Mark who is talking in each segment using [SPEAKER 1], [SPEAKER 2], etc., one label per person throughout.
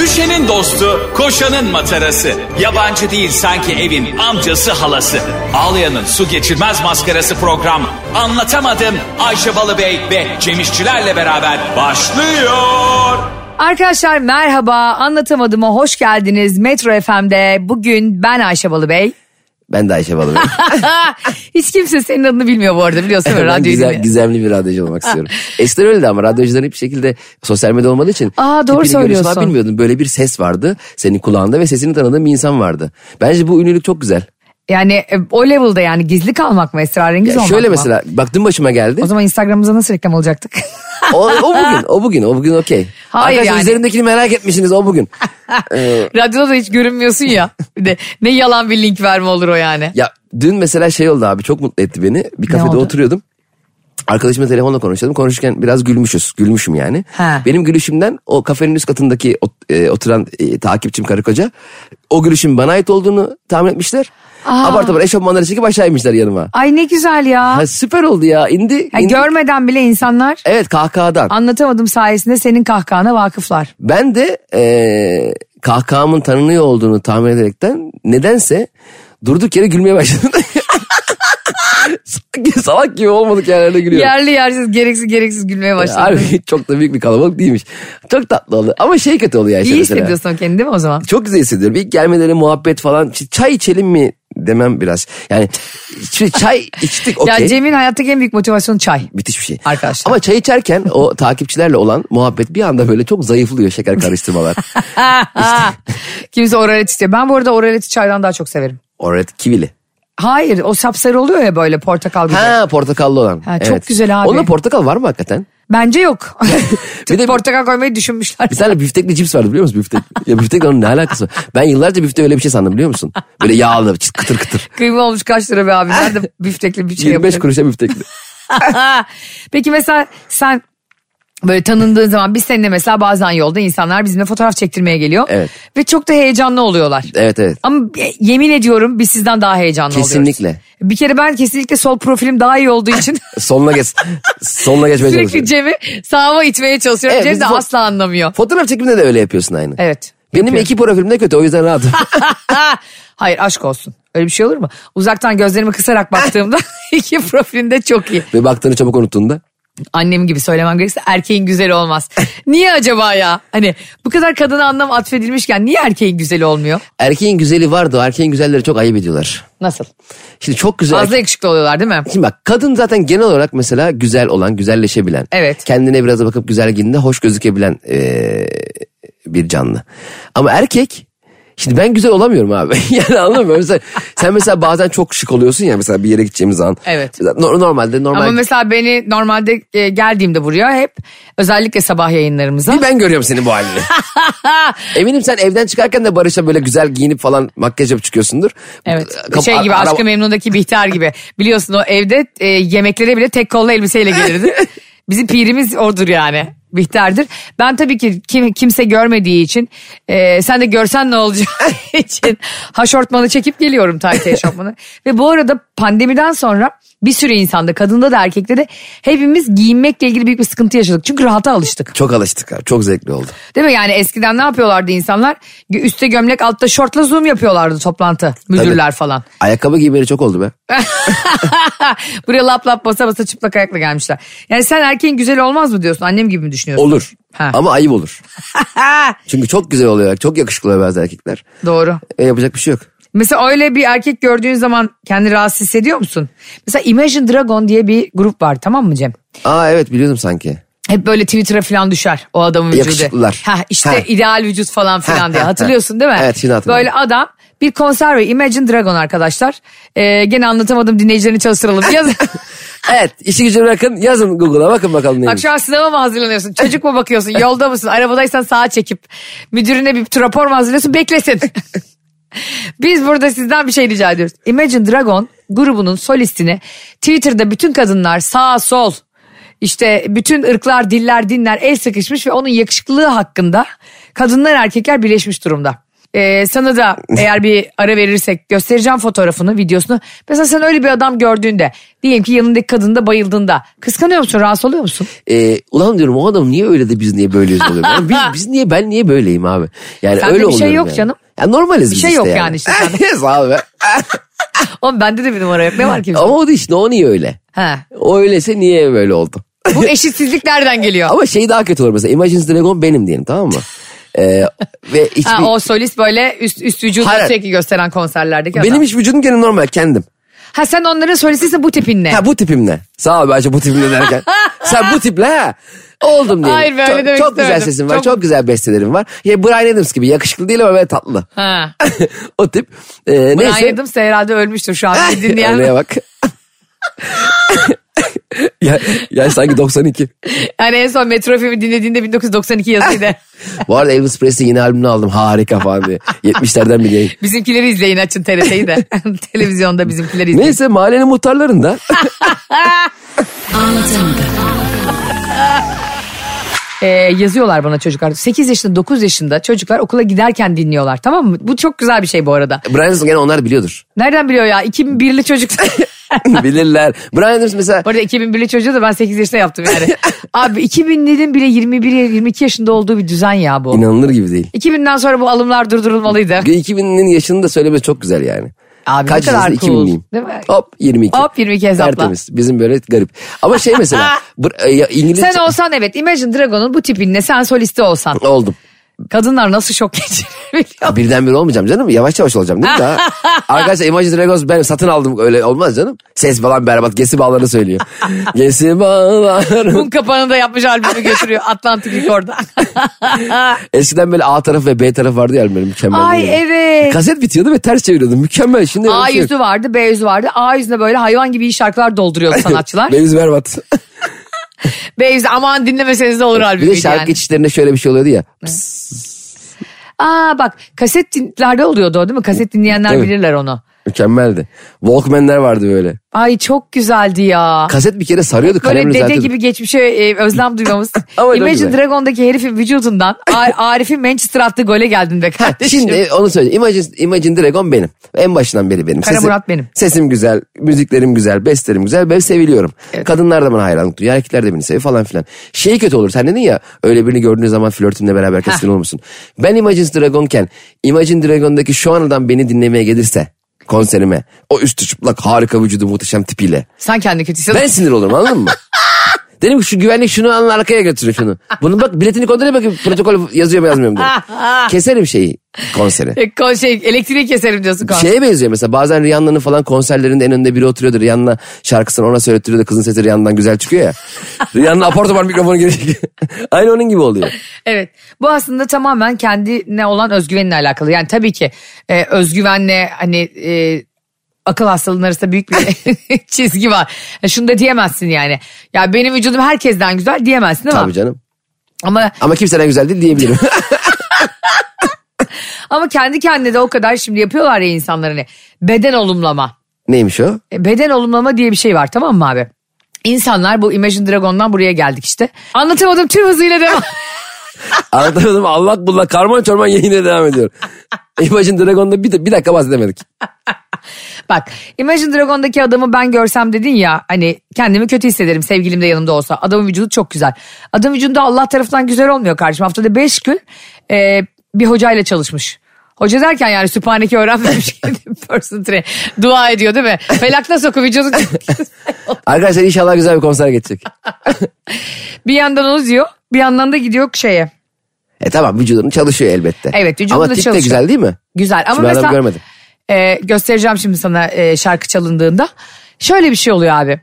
[SPEAKER 1] Ayşe'nin dostu, koşanın matarası. Yabancı değil sanki evin amcası halası. Ağlayan'ın su geçirmez maskarası program. Anlatamadım Ayşe Balıbey ve Cemişçilerle beraber başlıyor.
[SPEAKER 2] Arkadaşlar merhaba anlatamadığıma hoş geldiniz Metro FM'de bugün ben Ayşe Balıbey.
[SPEAKER 3] Ben de Ayşe Balıbey.
[SPEAKER 2] Hiç kimse senin adını bilmiyor bu arada biliyorsun
[SPEAKER 3] ben
[SPEAKER 2] radyoyu
[SPEAKER 3] güzel,
[SPEAKER 2] dinle.
[SPEAKER 3] gizemli bir radyocu olmak istiyorum. Eskiden öyle de ama radyocuların hiçbir şekilde sosyal medya olmadığı için.
[SPEAKER 2] Aa, doğru
[SPEAKER 3] tipini görüyorsun
[SPEAKER 2] söylüyorsun.
[SPEAKER 3] falan Bilmiyordun böyle bir ses vardı senin kulağında ve sesini tanıdığın bir insan vardı. Bence bu ünlülük çok güzel.
[SPEAKER 2] Yani e, o level'da yani gizli kalmak mı esrarengiz
[SPEAKER 3] Ya
[SPEAKER 2] olmak
[SPEAKER 3] şöyle
[SPEAKER 2] mı?
[SPEAKER 3] mesela bak dün başıma geldi.
[SPEAKER 2] O zaman Instagram'ımıza nasıl reklam olacaktuk?
[SPEAKER 3] o, o bugün o bugün o bugün okey.
[SPEAKER 2] Hayır
[SPEAKER 3] Arkadaşlar
[SPEAKER 2] yani.
[SPEAKER 3] üzerimdekini merak etmişsiniz o bugün. Ee,
[SPEAKER 2] Radyoda da hiç görünmüyorsun ya. Bir de ne yalan bir link verme olur o yani.
[SPEAKER 3] Ya dün mesela şey oldu abi çok mutlu etti beni. Bir kafede
[SPEAKER 2] oldu?
[SPEAKER 3] oturuyordum. Arkadaşımla telefonla konuşuyordum. Konuşurken biraz gülmüşüz. Gülmüşüm yani.
[SPEAKER 2] He.
[SPEAKER 3] Benim gülüşümden o kafenin üst katındaki ot- e, oturan e, takipçim karı koca o gülüşün bana ait olduğunu tahmin etmişler.
[SPEAKER 2] Aa.
[SPEAKER 3] Abart abart eşofmanları çekip aşağı inmişler yanıma.
[SPEAKER 2] Ay ne güzel ya.
[SPEAKER 3] Ha, süper oldu ya. İndi.
[SPEAKER 2] Ya
[SPEAKER 3] indi.
[SPEAKER 2] görmeden bile insanlar
[SPEAKER 3] Evet kahkahadan.
[SPEAKER 2] anlatamadım sayesinde senin kahkahana vakıflar.
[SPEAKER 3] Ben de e, kahkahamın tanınıyor olduğunu tahmin ederekten nedense durduk yere gülmeye başladım. Salak- Salak gibi olmadık yerlerde gülüyorum.
[SPEAKER 2] Yerli yersiz gereksiz gereksiz gülmeye başladın.
[SPEAKER 3] Ee, Harbi çok da büyük bir kalabalık değilmiş. Çok tatlı oldu ama şey kötü oluyor Ayşe
[SPEAKER 2] İyi
[SPEAKER 3] mesela.
[SPEAKER 2] hissediyorsun kendini değil mi o zaman?
[SPEAKER 3] Çok güzel hissediyorum. İlk gelmeleri muhabbet falan ç- çay içelim mi demem biraz. Yani şimdi çay içtik okey.
[SPEAKER 2] Ya Cem'in hayattaki en büyük motivasyonu çay.
[SPEAKER 3] Müthiş bir şey.
[SPEAKER 2] Arkadaşlar.
[SPEAKER 3] Ama çay içerken o takipçilerle olan muhabbet bir anda böyle çok zayıflıyor şeker karıştırmalar.
[SPEAKER 2] Kimse oralet istiyor. Ben bu arada oraleti çaydan daha çok severim.
[SPEAKER 3] Oret kivili.
[SPEAKER 2] Hayır o sapsarı oluyor ya böyle portakal gibi.
[SPEAKER 3] Ha portakallı olan.
[SPEAKER 2] Ha, çok güzel abi.
[SPEAKER 3] Onda portakal var mı hakikaten?
[SPEAKER 2] Bence yok.
[SPEAKER 3] Bir de-
[SPEAKER 2] portakal koymayı düşünmüşler.
[SPEAKER 3] Bir tane büftekli cips vardı biliyor musun büftek? ya büftekle onun ne alakası var? Ben yıllarca büfte öyle bir şey sandım biliyor musun? Böyle yağlı çıt- kıtır kıtır.
[SPEAKER 2] Kıyma olmuş kaç lira be abi. Nerede biftekli bir şey
[SPEAKER 3] 25
[SPEAKER 2] yapacak?
[SPEAKER 3] kuruşa büftekli.
[SPEAKER 2] Peki mesela sen böyle tanındığın zaman biz seninle mesela bazen yolda insanlar bizimle fotoğraf çektirmeye geliyor.
[SPEAKER 3] Evet.
[SPEAKER 2] Ve çok da heyecanlı oluyorlar.
[SPEAKER 3] Evet evet.
[SPEAKER 2] Ama yemin ediyorum biz sizden daha heyecanlı oluyoruz.
[SPEAKER 3] Kesinlikle.
[SPEAKER 2] Bir kere ben kesinlikle sol profilim daha iyi olduğu için
[SPEAKER 3] Sonuna geç. Sonuna geçmeye
[SPEAKER 2] sürekli
[SPEAKER 3] çalışıyorum.
[SPEAKER 2] Cem'i sağa itmeye çalışıyorum.
[SPEAKER 3] şey. Evet,
[SPEAKER 2] Cem
[SPEAKER 3] biz
[SPEAKER 2] de
[SPEAKER 3] fo-
[SPEAKER 2] asla anlamıyor.
[SPEAKER 3] Fotoğraf çekiminde de öyle yapıyorsun aynı.
[SPEAKER 2] Evet.
[SPEAKER 3] Benim iki profilim de kötü o yüzden rahatım.
[SPEAKER 2] Ha, Ah! Hayır aşk olsun. Öyle bir şey olur mu? Uzaktan gözlerimi kısarak baktığımda iki profilinde çok iyi.
[SPEAKER 3] Ve baktığını çabuk unuttuğunda.
[SPEAKER 2] Annem gibi söylemem gerekirse erkeğin güzeli olmaz. Niye acaba ya? Hani bu kadar kadına anlam atfedilmişken niye erkeğin güzeli olmuyor?
[SPEAKER 3] Erkeğin güzeli vardı. o Erkeğin güzelleri çok ayıp ediyorlar.
[SPEAKER 2] Nasıl?
[SPEAKER 3] Şimdi çok güzel.
[SPEAKER 2] Fazla yakışıklı oluyorlar değil mi?
[SPEAKER 3] Şimdi bak kadın zaten genel olarak mesela güzel olan, güzelleşebilen.
[SPEAKER 2] Evet.
[SPEAKER 3] Kendine biraz da bakıp güzelliğinde hoş gözükebilen eee, bir canlı. Ama erkek Şimdi ben güzel olamıyorum abi. yani anladın mı? Mesela, sen mesela bazen çok şık oluyorsun ya mesela bir yere gideceğimiz zaman.
[SPEAKER 2] Evet.
[SPEAKER 3] Mesela no- normalde normal.
[SPEAKER 2] Ama mesela beni normalde e, geldiğimde buraya hep özellikle sabah yayınlarımıza.
[SPEAKER 3] Bir ben görüyorum senin bu halini. Eminim sen evden çıkarken de Barış'a böyle güzel giyinip falan makyaj yapıp çıkıyorsundur.
[SPEAKER 2] Evet.
[SPEAKER 3] Kap-
[SPEAKER 2] şey gibi
[SPEAKER 3] ara-
[SPEAKER 2] Aşkı Memnun'daki Bihter gibi. Biliyorsun o evde e, yemeklere bile tek kollu elbiseyle gelirdi. Bizim pirimiz odur yani. Bihter'dir. Ben tabii ki kim, kimse görmediği için e, sen de görsen ne olacak için haşortmanı çekip geliyorum tayt eşofmanı. Ve bu arada pandemiden sonra bir sürü insanda kadında da erkekte de hepimiz giyinmekle ilgili büyük bir sıkıntı yaşadık. Çünkü rahata alıştık.
[SPEAKER 3] Çok alıştık abi. Çok zevkli oldu.
[SPEAKER 2] Değil mi? Yani eskiden ne yapıyorlardı insanlar? Üste gömlek altta şortla zoom yapıyorlardı toplantı. Müdürler
[SPEAKER 3] Tabii.
[SPEAKER 2] falan.
[SPEAKER 3] Ayakkabı giymeli çok oldu be.
[SPEAKER 2] Buraya lap lap basa basa çıplak ayakla gelmişler. Yani sen erkeğin güzel olmaz mı diyorsun? Annem gibi mi düşünüyorsun?
[SPEAKER 3] Olur.
[SPEAKER 2] Ha.
[SPEAKER 3] Ama ayıp olur. Çünkü çok güzel oluyor. Çok yakışıklı oluyor bazı erkekler.
[SPEAKER 2] Doğru.
[SPEAKER 3] E, yapacak bir şey yok.
[SPEAKER 2] Mesela öyle bir erkek gördüğün zaman kendini rahatsız hissediyor musun? Mesela Imagine Dragon diye bir grup var tamam mı Cem?
[SPEAKER 3] Aa evet biliyordum sanki.
[SPEAKER 2] Hep böyle Twitter'a falan düşer o adamın vücudu.
[SPEAKER 3] Yakışıklılar.
[SPEAKER 2] Ha işte
[SPEAKER 3] Ha.
[SPEAKER 2] ideal vücut falan
[SPEAKER 3] Ha,
[SPEAKER 2] filan
[SPEAKER 3] ha,
[SPEAKER 2] diye
[SPEAKER 3] ha.
[SPEAKER 2] hatırlıyorsun değil mi?
[SPEAKER 3] Evet, şimdi hatırladım.
[SPEAKER 2] Böyle adam bir konserve Imagine Dragon arkadaşlar. Ee, gene anlatamadım dinleyicilerini çalıştıralım. Yaz-
[SPEAKER 3] Evet işi gücü bırakın yazın Google'a bakın bakalım neymiş.
[SPEAKER 2] Bak şu an sınava mı hazırlanıyorsun? Çocuk mu bakıyorsun? Yolda mısın? Arabadaysan sağa çekip müdürüne bir rapor mu hazırlıyorsun? Beklesin. Biz burada sizden bir şey rica ediyoruz. Imagine Dragon grubunun solistini Twitter'da bütün kadınlar sağ sol işte bütün ırklar, diller, dinler el sıkışmış ve onun yakışıklılığı hakkında kadınlar erkekler birleşmiş durumda. Ee, sana da eğer bir ara verirsek göstereceğim fotoğrafını, videosunu. Mesela sen öyle bir adam gördüğünde, diyelim ki yanındaki kadında bayıldığında kıskanıyor musun, rahatsız oluyor musun?
[SPEAKER 3] Ee, ulan diyorum o adam niye öyle de biz niye böyleyiz oluyor. Yani biz, biz niye ben niye böyleyim abi. Yani
[SPEAKER 2] Sende
[SPEAKER 3] öyle
[SPEAKER 2] bir şey
[SPEAKER 3] oluyorum
[SPEAKER 2] yok
[SPEAKER 3] yani.
[SPEAKER 2] canım.
[SPEAKER 3] Ya normaliz
[SPEAKER 2] Bir
[SPEAKER 3] biz
[SPEAKER 2] şey
[SPEAKER 3] işte
[SPEAKER 2] yok yani işte
[SPEAKER 3] Sağ ol be.
[SPEAKER 2] Oğlum bende de bir numara yok. Ne var ki?
[SPEAKER 3] Ama o da işte o niye öyle.
[SPEAKER 2] Ha.
[SPEAKER 3] O öyleyse niye böyle oldu.
[SPEAKER 2] Bu eşitsizlik nereden geliyor?
[SPEAKER 3] Ama şey daha kötü olur mesela Imagine Dragon benim diyelim tamam mı? Ee, ve hiçbir,
[SPEAKER 2] Ha, o solist böyle üst, üst vücudu
[SPEAKER 3] Hayır.
[SPEAKER 2] sürekli gösteren konserlerdeki adam.
[SPEAKER 3] benim hiç vücudum gene normal kendim.
[SPEAKER 2] Ha sen onların solistiysen bu tipinle.
[SPEAKER 3] Ha bu tipimle. Sağ ol bence bu tipimle derken. Sen bu tiple ha. Oldum
[SPEAKER 2] Hayır,
[SPEAKER 3] diyelim.
[SPEAKER 2] böyle
[SPEAKER 3] çok,
[SPEAKER 2] demek
[SPEAKER 3] çok güzel
[SPEAKER 2] istemedim.
[SPEAKER 3] sesim var.
[SPEAKER 2] Çok-
[SPEAKER 3] Çok... güzel bestelerim var. Ya Brian Adams gibi yakışıklı değil ama böyle tatlı.
[SPEAKER 2] Ha.
[SPEAKER 3] o tip. Ee,
[SPEAKER 2] Ben
[SPEAKER 3] neyse.
[SPEAKER 2] ayırdım herhalde ölmüştür şu an bizi
[SPEAKER 3] Oraya
[SPEAKER 2] dinleyen.
[SPEAKER 3] bak. ya, ya sanki 92.
[SPEAKER 2] Yani en son Metro FM'i dinlediğinde 1992 yazıydı.
[SPEAKER 3] Bu arada Elvis Presley yeni albümünü aldım. Harika falan diye. 70'lerden bir yayın.
[SPEAKER 2] bizimkileri izleyin açın TRT'yi de. Televizyonda bizimkileri izleyin.
[SPEAKER 3] Neyse mahallenin muhtarlarında
[SPEAKER 2] Ee, yazıyorlar bana çocuklar. 8 yaşında 9 yaşında çocuklar okula giderken dinliyorlar tamam mı? Bu çok güzel bir şey bu arada.
[SPEAKER 3] Brian Adams'ı gene onlar biliyordur.
[SPEAKER 2] Nereden biliyor ya? 2001'li çocuk.
[SPEAKER 3] Bilirler. Brian Adams mesela
[SPEAKER 2] bu arada 2001'li çocuğu da ben 8 yaşında yaptım yani. Abi 2000'lerin bile 21-22 yaşında olduğu bir düzen ya bu.
[SPEAKER 3] inanılır gibi değil.
[SPEAKER 2] 2000'den sonra bu alımlar durdurulmalıydı.
[SPEAKER 3] 2000'nin yaşını da söylemesi çok güzel yani.
[SPEAKER 2] Abi ne
[SPEAKER 3] Kaç
[SPEAKER 2] kadar
[SPEAKER 3] yaşında?
[SPEAKER 2] cool.
[SPEAKER 3] 2000'liyim.
[SPEAKER 2] Değil mi?
[SPEAKER 3] Hop 22.
[SPEAKER 2] Hop 22 hesapla.
[SPEAKER 3] Tertemiz. Bizim böyle garip. Ama şey mesela br- e, ya İngilizce
[SPEAKER 2] Sen olsan evet Imagine Dragon'un bu tipinle sen solisti olsan.
[SPEAKER 3] oldum.
[SPEAKER 2] Kadınlar nasıl şok geçirir biliyor musun?
[SPEAKER 3] Birdenbire olmayacağım canım. Yavaş yavaş olacağım değil mi daha? Arkadaşlar Imagine Dragons ben satın aldım öyle olmaz canım. Ses falan berbat. Gesi bağlarını söylüyor. Gesi bağlarını.
[SPEAKER 2] Un kapağını da yapmış albümü götürüyor Atlantik Record'a.
[SPEAKER 3] Eskiden böyle A tarafı ve B tarafı vardı ya benim mükemmel.
[SPEAKER 2] Ay
[SPEAKER 3] yani.
[SPEAKER 2] evet.
[SPEAKER 3] Kaset bitiyordu ve ters çeviriyordum. Mükemmel. Şimdi öyle bir
[SPEAKER 2] A
[SPEAKER 3] şey yok.
[SPEAKER 2] yüzü vardı, B yüzü vardı. A yüzüne böyle hayvan gibi iyi şarkılar dolduruyor sanatçılar.
[SPEAKER 3] B yüzü berbat.
[SPEAKER 2] B yüzü aman dinlemeseniz de olur
[SPEAKER 3] Bir de
[SPEAKER 2] albümüydü
[SPEAKER 3] şarkı
[SPEAKER 2] yani.
[SPEAKER 3] geçişlerinde şöyle bir şey oluyordu ya.
[SPEAKER 2] Aa bak kasetlerde oluyordu o değil mi? Kaset dinleyenler
[SPEAKER 3] Tabii.
[SPEAKER 2] bilirler onu.
[SPEAKER 3] Mükemmeldi. Walkman'ler vardı böyle.
[SPEAKER 2] Ay çok güzeldi ya.
[SPEAKER 3] Kaset bir kere sarıyordu
[SPEAKER 2] Böyle
[SPEAKER 3] kalemle
[SPEAKER 2] dede
[SPEAKER 3] zaten.
[SPEAKER 2] gibi geçmişe e, özlem duymamız.
[SPEAKER 3] Ama öyle
[SPEAKER 2] Imagine
[SPEAKER 3] güzel.
[SPEAKER 2] Dragon'daki herifin vücudundan A- Arif'in Manchester attığı gole geldin be kardeşim.
[SPEAKER 3] Şimdi onu söyleyeyim. Imagine, Imagine Dragon benim. En başından beri benim.
[SPEAKER 2] Kara Murat benim.
[SPEAKER 3] Sesim güzel, müziklerim güzel, bestlerim güzel. Ben seviliyorum.
[SPEAKER 2] Evet.
[SPEAKER 3] Kadınlar da bana hayranlık duyuyor. Erkekler de beni seviyor falan filan. Şey kötü olur. Sen dedin ya öyle birini gördüğün zaman flörtünle beraber kesin olmuşsun. Ben Imagine Dragon'ken Imagine Dragon'daki şu an adam beni dinlemeye gelirse konserime. O üstü çıplak harika vücudu muhteşem tipiyle.
[SPEAKER 2] Sen kendi kötü hissediyorsun.
[SPEAKER 3] Ben sinir olurum anladın mı? Dedim ki şu güvenlik şunu alın arkaya götürün şunu. Bunun bak biletini kontrol et bakayım protokol yazıyor mu yazmıyor mu diye. Keserim şeyi konseri.
[SPEAKER 2] E, kon- şey, elektriği keserim diyorsun. kon-
[SPEAKER 3] Şeye benziyor mesela bazen Rihanna'nın falan konserlerinde en önünde biri oturuyordu. Rihanna şarkısını ona söylettiriyor da kızın sesi Rihanna'dan güzel çıkıyor ya. Rihanna apar topar mikrofonu geri Aynı onun gibi oluyor.
[SPEAKER 2] Evet. Bu aslında tamamen kendine olan özgüvenle alakalı. Yani tabii ki e, özgüvenle hani e, akıl hastalığının arasında büyük bir çizgi var. Ya Şunu da diyemezsin yani. Ya benim vücudum herkesten güzel diyemezsin ama
[SPEAKER 3] Tabii canım.
[SPEAKER 2] ama
[SPEAKER 3] Ama kimseden güzel değil diyebilirim.
[SPEAKER 2] ama kendi kendine de o kadar şimdi yapıyorlar ya insanlar hani beden olumlama.
[SPEAKER 3] Neymiş o?
[SPEAKER 2] E, Beden olumlama diye bir şey var tamam mı abi? İnsanlar bu Imagine Dragon'dan buraya geldik işte. Anlatamadım tüm hızıyla devam.
[SPEAKER 3] Anlatamadım Allah bullak karman çorman yayına devam ediyor. Imagine Dragon'da bir, bir dakika bahsedemedik.
[SPEAKER 2] Bak Imagine Dragon'daki adamı ben görsem dedin ya hani kendimi kötü hissederim sevgilim de yanımda olsa. Adamın vücudu çok güzel. Adamın vücudu Allah tarafından güzel olmuyor kardeşim. Haftada 5 gün e, bir hocayla çalışmış. Hoca derken yani süphaneki öğrenmemiş gibi person train. Dua ediyor değil mi? Felak nasıl oku vücudun çok güzel.
[SPEAKER 3] Arkadaşlar inşallah güzel bir konser geçecek.
[SPEAKER 2] Bir yandan onu diyor bir yandan da gidiyor şeye.
[SPEAKER 3] E tamam vücudunu çalışıyor elbette.
[SPEAKER 2] Evet, vücudunu
[SPEAKER 3] Ama tip de
[SPEAKER 2] çalışıyor.
[SPEAKER 3] güzel değil mi?
[SPEAKER 2] Güzel ama
[SPEAKER 3] Şimdi adam
[SPEAKER 2] mesela
[SPEAKER 3] görmedim.
[SPEAKER 2] e, göstereceğim şimdi sana e, şarkı çalındığında. Şöyle bir şey oluyor abi.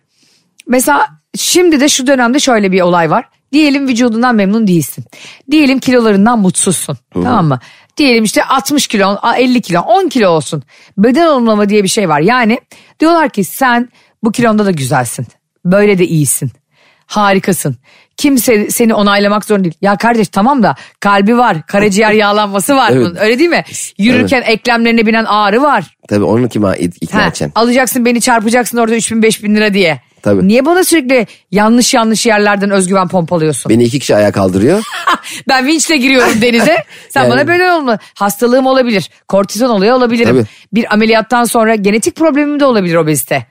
[SPEAKER 2] Mesela şimdi de şu dönemde şöyle bir olay var. Diyelim vücudundan memnun değilsin. Diyelim kilolarından mutsuzsun. Tamam mı? Diyelim işte 60 kilo, 50 kilo, 10 kilo olsun. Beden olumlama diye bir şey var. Yani diyorlar ki sen bu kilonda da güzelsin. Böyle de iyisin. Harikasın. Kimse seni onaylamak zorunda değil. Ya kardeş tamam da kalbi var, karaciğer yağlanması var
[SPEAKER 3] Evet.
[SPEAKER 2] bunun. Öyle değil mi? Yürürken eklemlerine binen ağrı var.
[SPEAKER 3] Tabii onu kime ikna
[SPEAKER 2] Ha,
[SPEAKER 3] edeceksin?
[SPEAKER 2] alacaksın beni çarpacaksın orada 3000 5000 lira diye.
[SPEAKER 3] Tabii.
[SPEAKER 2] Niye bana sürekli yanlış yanlış yerlerden özgüven pompalıyorsun?
[SPEAKER 3] Beni iki kişi ayağa kaldırıyor.
[SPEAKER 2] ben vinçle giriyorum denize. Sen
[SPEAKER 3] Yani-
[SPEAKER 2] bana böyle olma. Hastalığım olabilir. Kortizon oluyor olabilirim.
[SPEAKER 3] Tabii.
[SPEAKER 2] Bir ameliyattan sonra genetik problemim de olabilir obezite.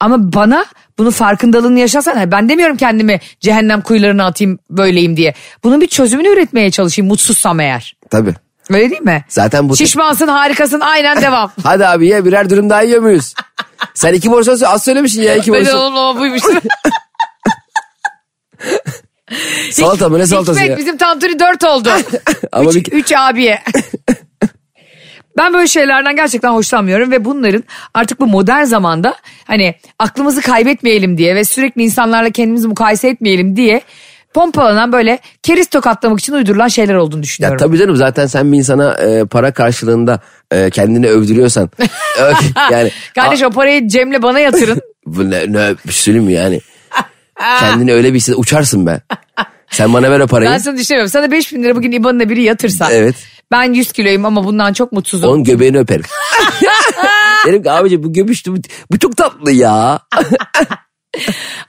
[SPEAKER 2] Ama bana bunu farkındalığını yaşasana. Ben demiyorum kendimi cehennem kuyularına atayım böyleyim diye. Bunun bir çözümünü üretmeye çalışayım mutsuzsam eğer.
[SPEAKER 3] Tabii.
[SPEAKER 2] Öyle değil mi?
[SPEAKER 3] Zaten bu-
[SPEAKER 2] Şişmansın harikasın aynen devam.
[SPEAKER 3] Hadi abi ye birer dürüm daha yiyor muyuz? Sen iki porsiyon sö- az söylemişsin ya iki
[SPEAKER 2] ben de
[SPEAKER 3] porsiyon.
[SPEAKER 2] oğlum buymuş.
[SPEAKER 3] Salata mı ne salatası ya?
[SPEAKER 2] Hikmet bizim tam türü dört oldu.
[SPEAKER 3] Ama
[SPEAKER 2] üç,
[SPEAKER 3] bir-
[SPEAKER 2] üç abiye. Ben böyle şeylerden gerçekten hoşlanmıyorum ve bunların artık bu modern zamanda hani aklımızı kaybetmeyelim diye ve sürekli insanlarla kendimizi mukayese etmeyelim diye pompalanan böyle keriz tokatlamak için uydurulan şeyler olduğunu
[SPEAKER 3] Ya
[SPEAKER 2] düşünüyorum.
[SPEAKER 3] tabii canım zaten sen bir insana e, para karşılığında e, kendini övdürüyorsan. ö- yani
[SPEAKER 2] Kardeş o parayı Cem'le bana yatırın.
[SPEAKER 3] bu ne, ne bir şey söyleyeyim mi yani? Kendini öyle bir hisse uçarsın be. Sen bana ver o parayı.
[SPEAKER 2] ben sana düşünemiyorum. Sana 5000 lira bugün IBAN'ına biri yatırsa.
[SPEAKER 3] Evet.
[SPEAKER 2] Ben 100 kiloyum ama bundan çok mutsuzum.
[SPEAKER 3] Onun göbeğini öperim. Derim ki abici bu göbüş bu, bu çok tatlı ya.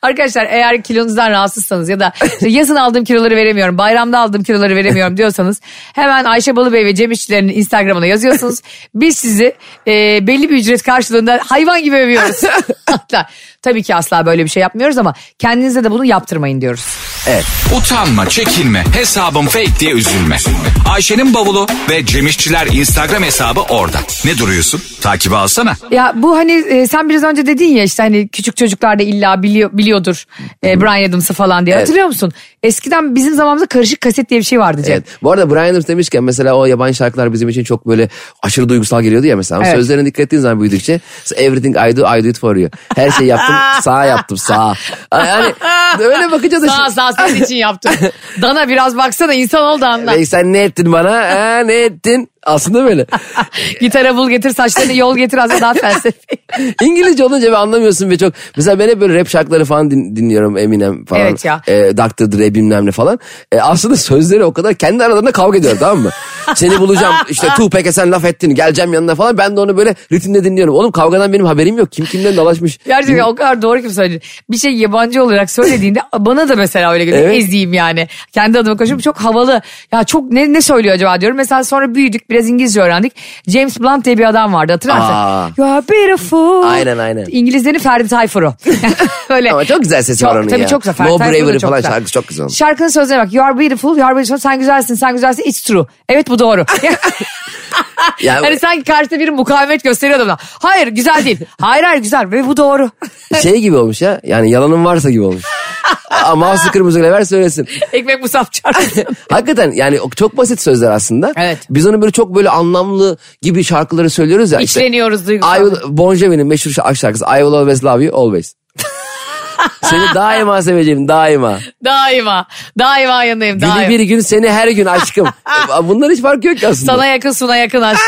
[SPEAKER 2] Arkadaşlar eğer kilonuzdan rahatsızsanız ya da işte yazın aldığım kiloları veremiyorum, bayramda aldığım kiloları veremiyorum diyorsanız hemen Ayşe Balıbey ve Cem İşçilerin Instagram'ına yazıyorsunuz. Biz sizi e, belli bir ücret karşılığında hayvan gibi övüyoruz. Hatta tabii ki asla böyle bir şey yapmıyoruz ama kendinize de bunu yaptırmayın diyoruz.
[SPEAKER 1] Utanma, çekinme, hesabım fake diye üzülme. Ayşe'nin bavulu ve Cemişçiler Instagram hesabı orada. Ne duruyorsun? Takibi alsana.
[SPEAKER 2] Ya bu hani e, sen biraz önce dedin ya işte hani küçük çocuklar da illa biliyor, biliyordur e, Brian Adams'ı falan diye. Hatırlıyor musun? Eskiden bizim zamanımızda karışık kaset diye bir şey vardı Cem.
[SPEAKER 3] Evet. Bu arada Brian Adams demişken mesela o yabancı şarkılar bizim için çok böyle aşırı duygusal geliyordu ya mesela. Ama
[SPEAKER 2] Evet.
[SPEAKER 3] Sözlerine dikkat ettiğin zaman büyüdükçe everything I do I do it for you. Her şeyi yaptım sağ yaptım sağ. Yani öyle bakınca da şey-
[SPEAKER 2] Sağ
[SPEAKER 3] şimdi-
[SPEAKER 2] sağ senin için yaptım. Dana biraz baksana insan ol da anla.
[SPEAKER 3] Bey sen ne ettin bana? Ha, ne ettin? Aslında böyle.
[SPEAKER 2] Gitara bul getir saçlarını yol getir aslında daha felsefi.
[SPEAKER 3] İngilizce olunca bir anlamıyorsun ve çok. Mesela ben hep böyle rap şarkıları falan din- dinliyorum Eminem falan.
[SPEAKER 2] Evet ya.
[SPEAKER 3] E, Dr. Dre bilmem ne falan. E, aslında sözleri o kadar kendi aralarında kavga ediyor tamam mı? Seni bulacağım işte Tupac'e sen laf ettin geleceğim yanına falan. Ben de onu böyle ritimle dinliyorum. Oğlum kavgadan benim haberim yok. Kim kimden dalaşmış.
[SPEAKER 2] Gerçekten o kadar doğru ki söyledi. Bir şey yabancı olarak söylediğinde bana da mesela öyle geliyor.
[SPEAKER 3] Evet.
[SPEAKER 2] Eziyim yani. Kendi adıma konuşuyorum çok havalı. Ya çok ne, ne söylüyor acaba diyorum. Mesela sonra büyüdük biraz İngilizce öğrendik. James Blunt diye bir adam vardı hatırlar
[SPEAKER 3] Aa.
[SPEAKER 2] mısın? You are beautiful.
[SPEAKER 3] Aynen, aynen.
[SPEAKER 2] İngilizlerin Ferdi Tayfur'u. Böyle.
[SPEAKER 3] Ama çok güzel sesi
[SPEAKER 2] Çok-
[SPEAKER 3] var onun
[SPEAKER 2] tabii
[SPEAKER 3] ya.
[SPEAKER 2] çok güzel. Ferdi
[SPEAKER 3] No
[SPEAKER 2] Tayfur'un da
[SPEAKER 3] Bravery
[SPEAKER 2] çok
[SPEAKER 3] falan
[SPEAKER 2] güzel.
[SPEAKER 3] şarkısı çok güzel.
[SPEAKER 2] Şarkının sözlerine bak. You are beautiful, you are beautiful. Sen güzelsin, sen güzelsin. It's true. Evet bu doğru.
[SPEAKER 3] Ya-
[SPEAKER 2] hani sanki karşıda biri mukavemet gösteriyor adamına. Hayır güzel değil. Hayır hayır güzel ve bu doğru.
[SPEAKER 3] Şey gibi olmuş ya. Yani yalanın varsa gibi olmuş. Ama mouse'u kırmızıyla ver söylesin.
[SPEAKER 2] Ekmek musaf çarpsın.
[SPEAKER 3] Hakikaten yani o çok basit sözler aslında.
[SPEAKER 2] Evet.
[SPEAKER 3] Biz onu böyle çok böyle anlamlı gibi şarkıları söylüyoruz ya. işte.
[SPEAKER 2] İçleniyoruz
[SPEAKER 3] I
[SPEAKER 2] duygusal.
[SPEAKER 3] will, Bon Jovi'nin meşhur şarkı şarkısı. I will always love you always. seni daima seveceğim daima.
[SPEAKER 2] Daima. Daima yanındayım.
[SPEAKER 3] Günü
[SPEAKER 2] Daima.
[SPEAKER 3] bir gün seni her gün aşkım. Bunlar hiç farkı yok ki aslında.
[SPEAKER 2] Sana yakın suna yakın aşk.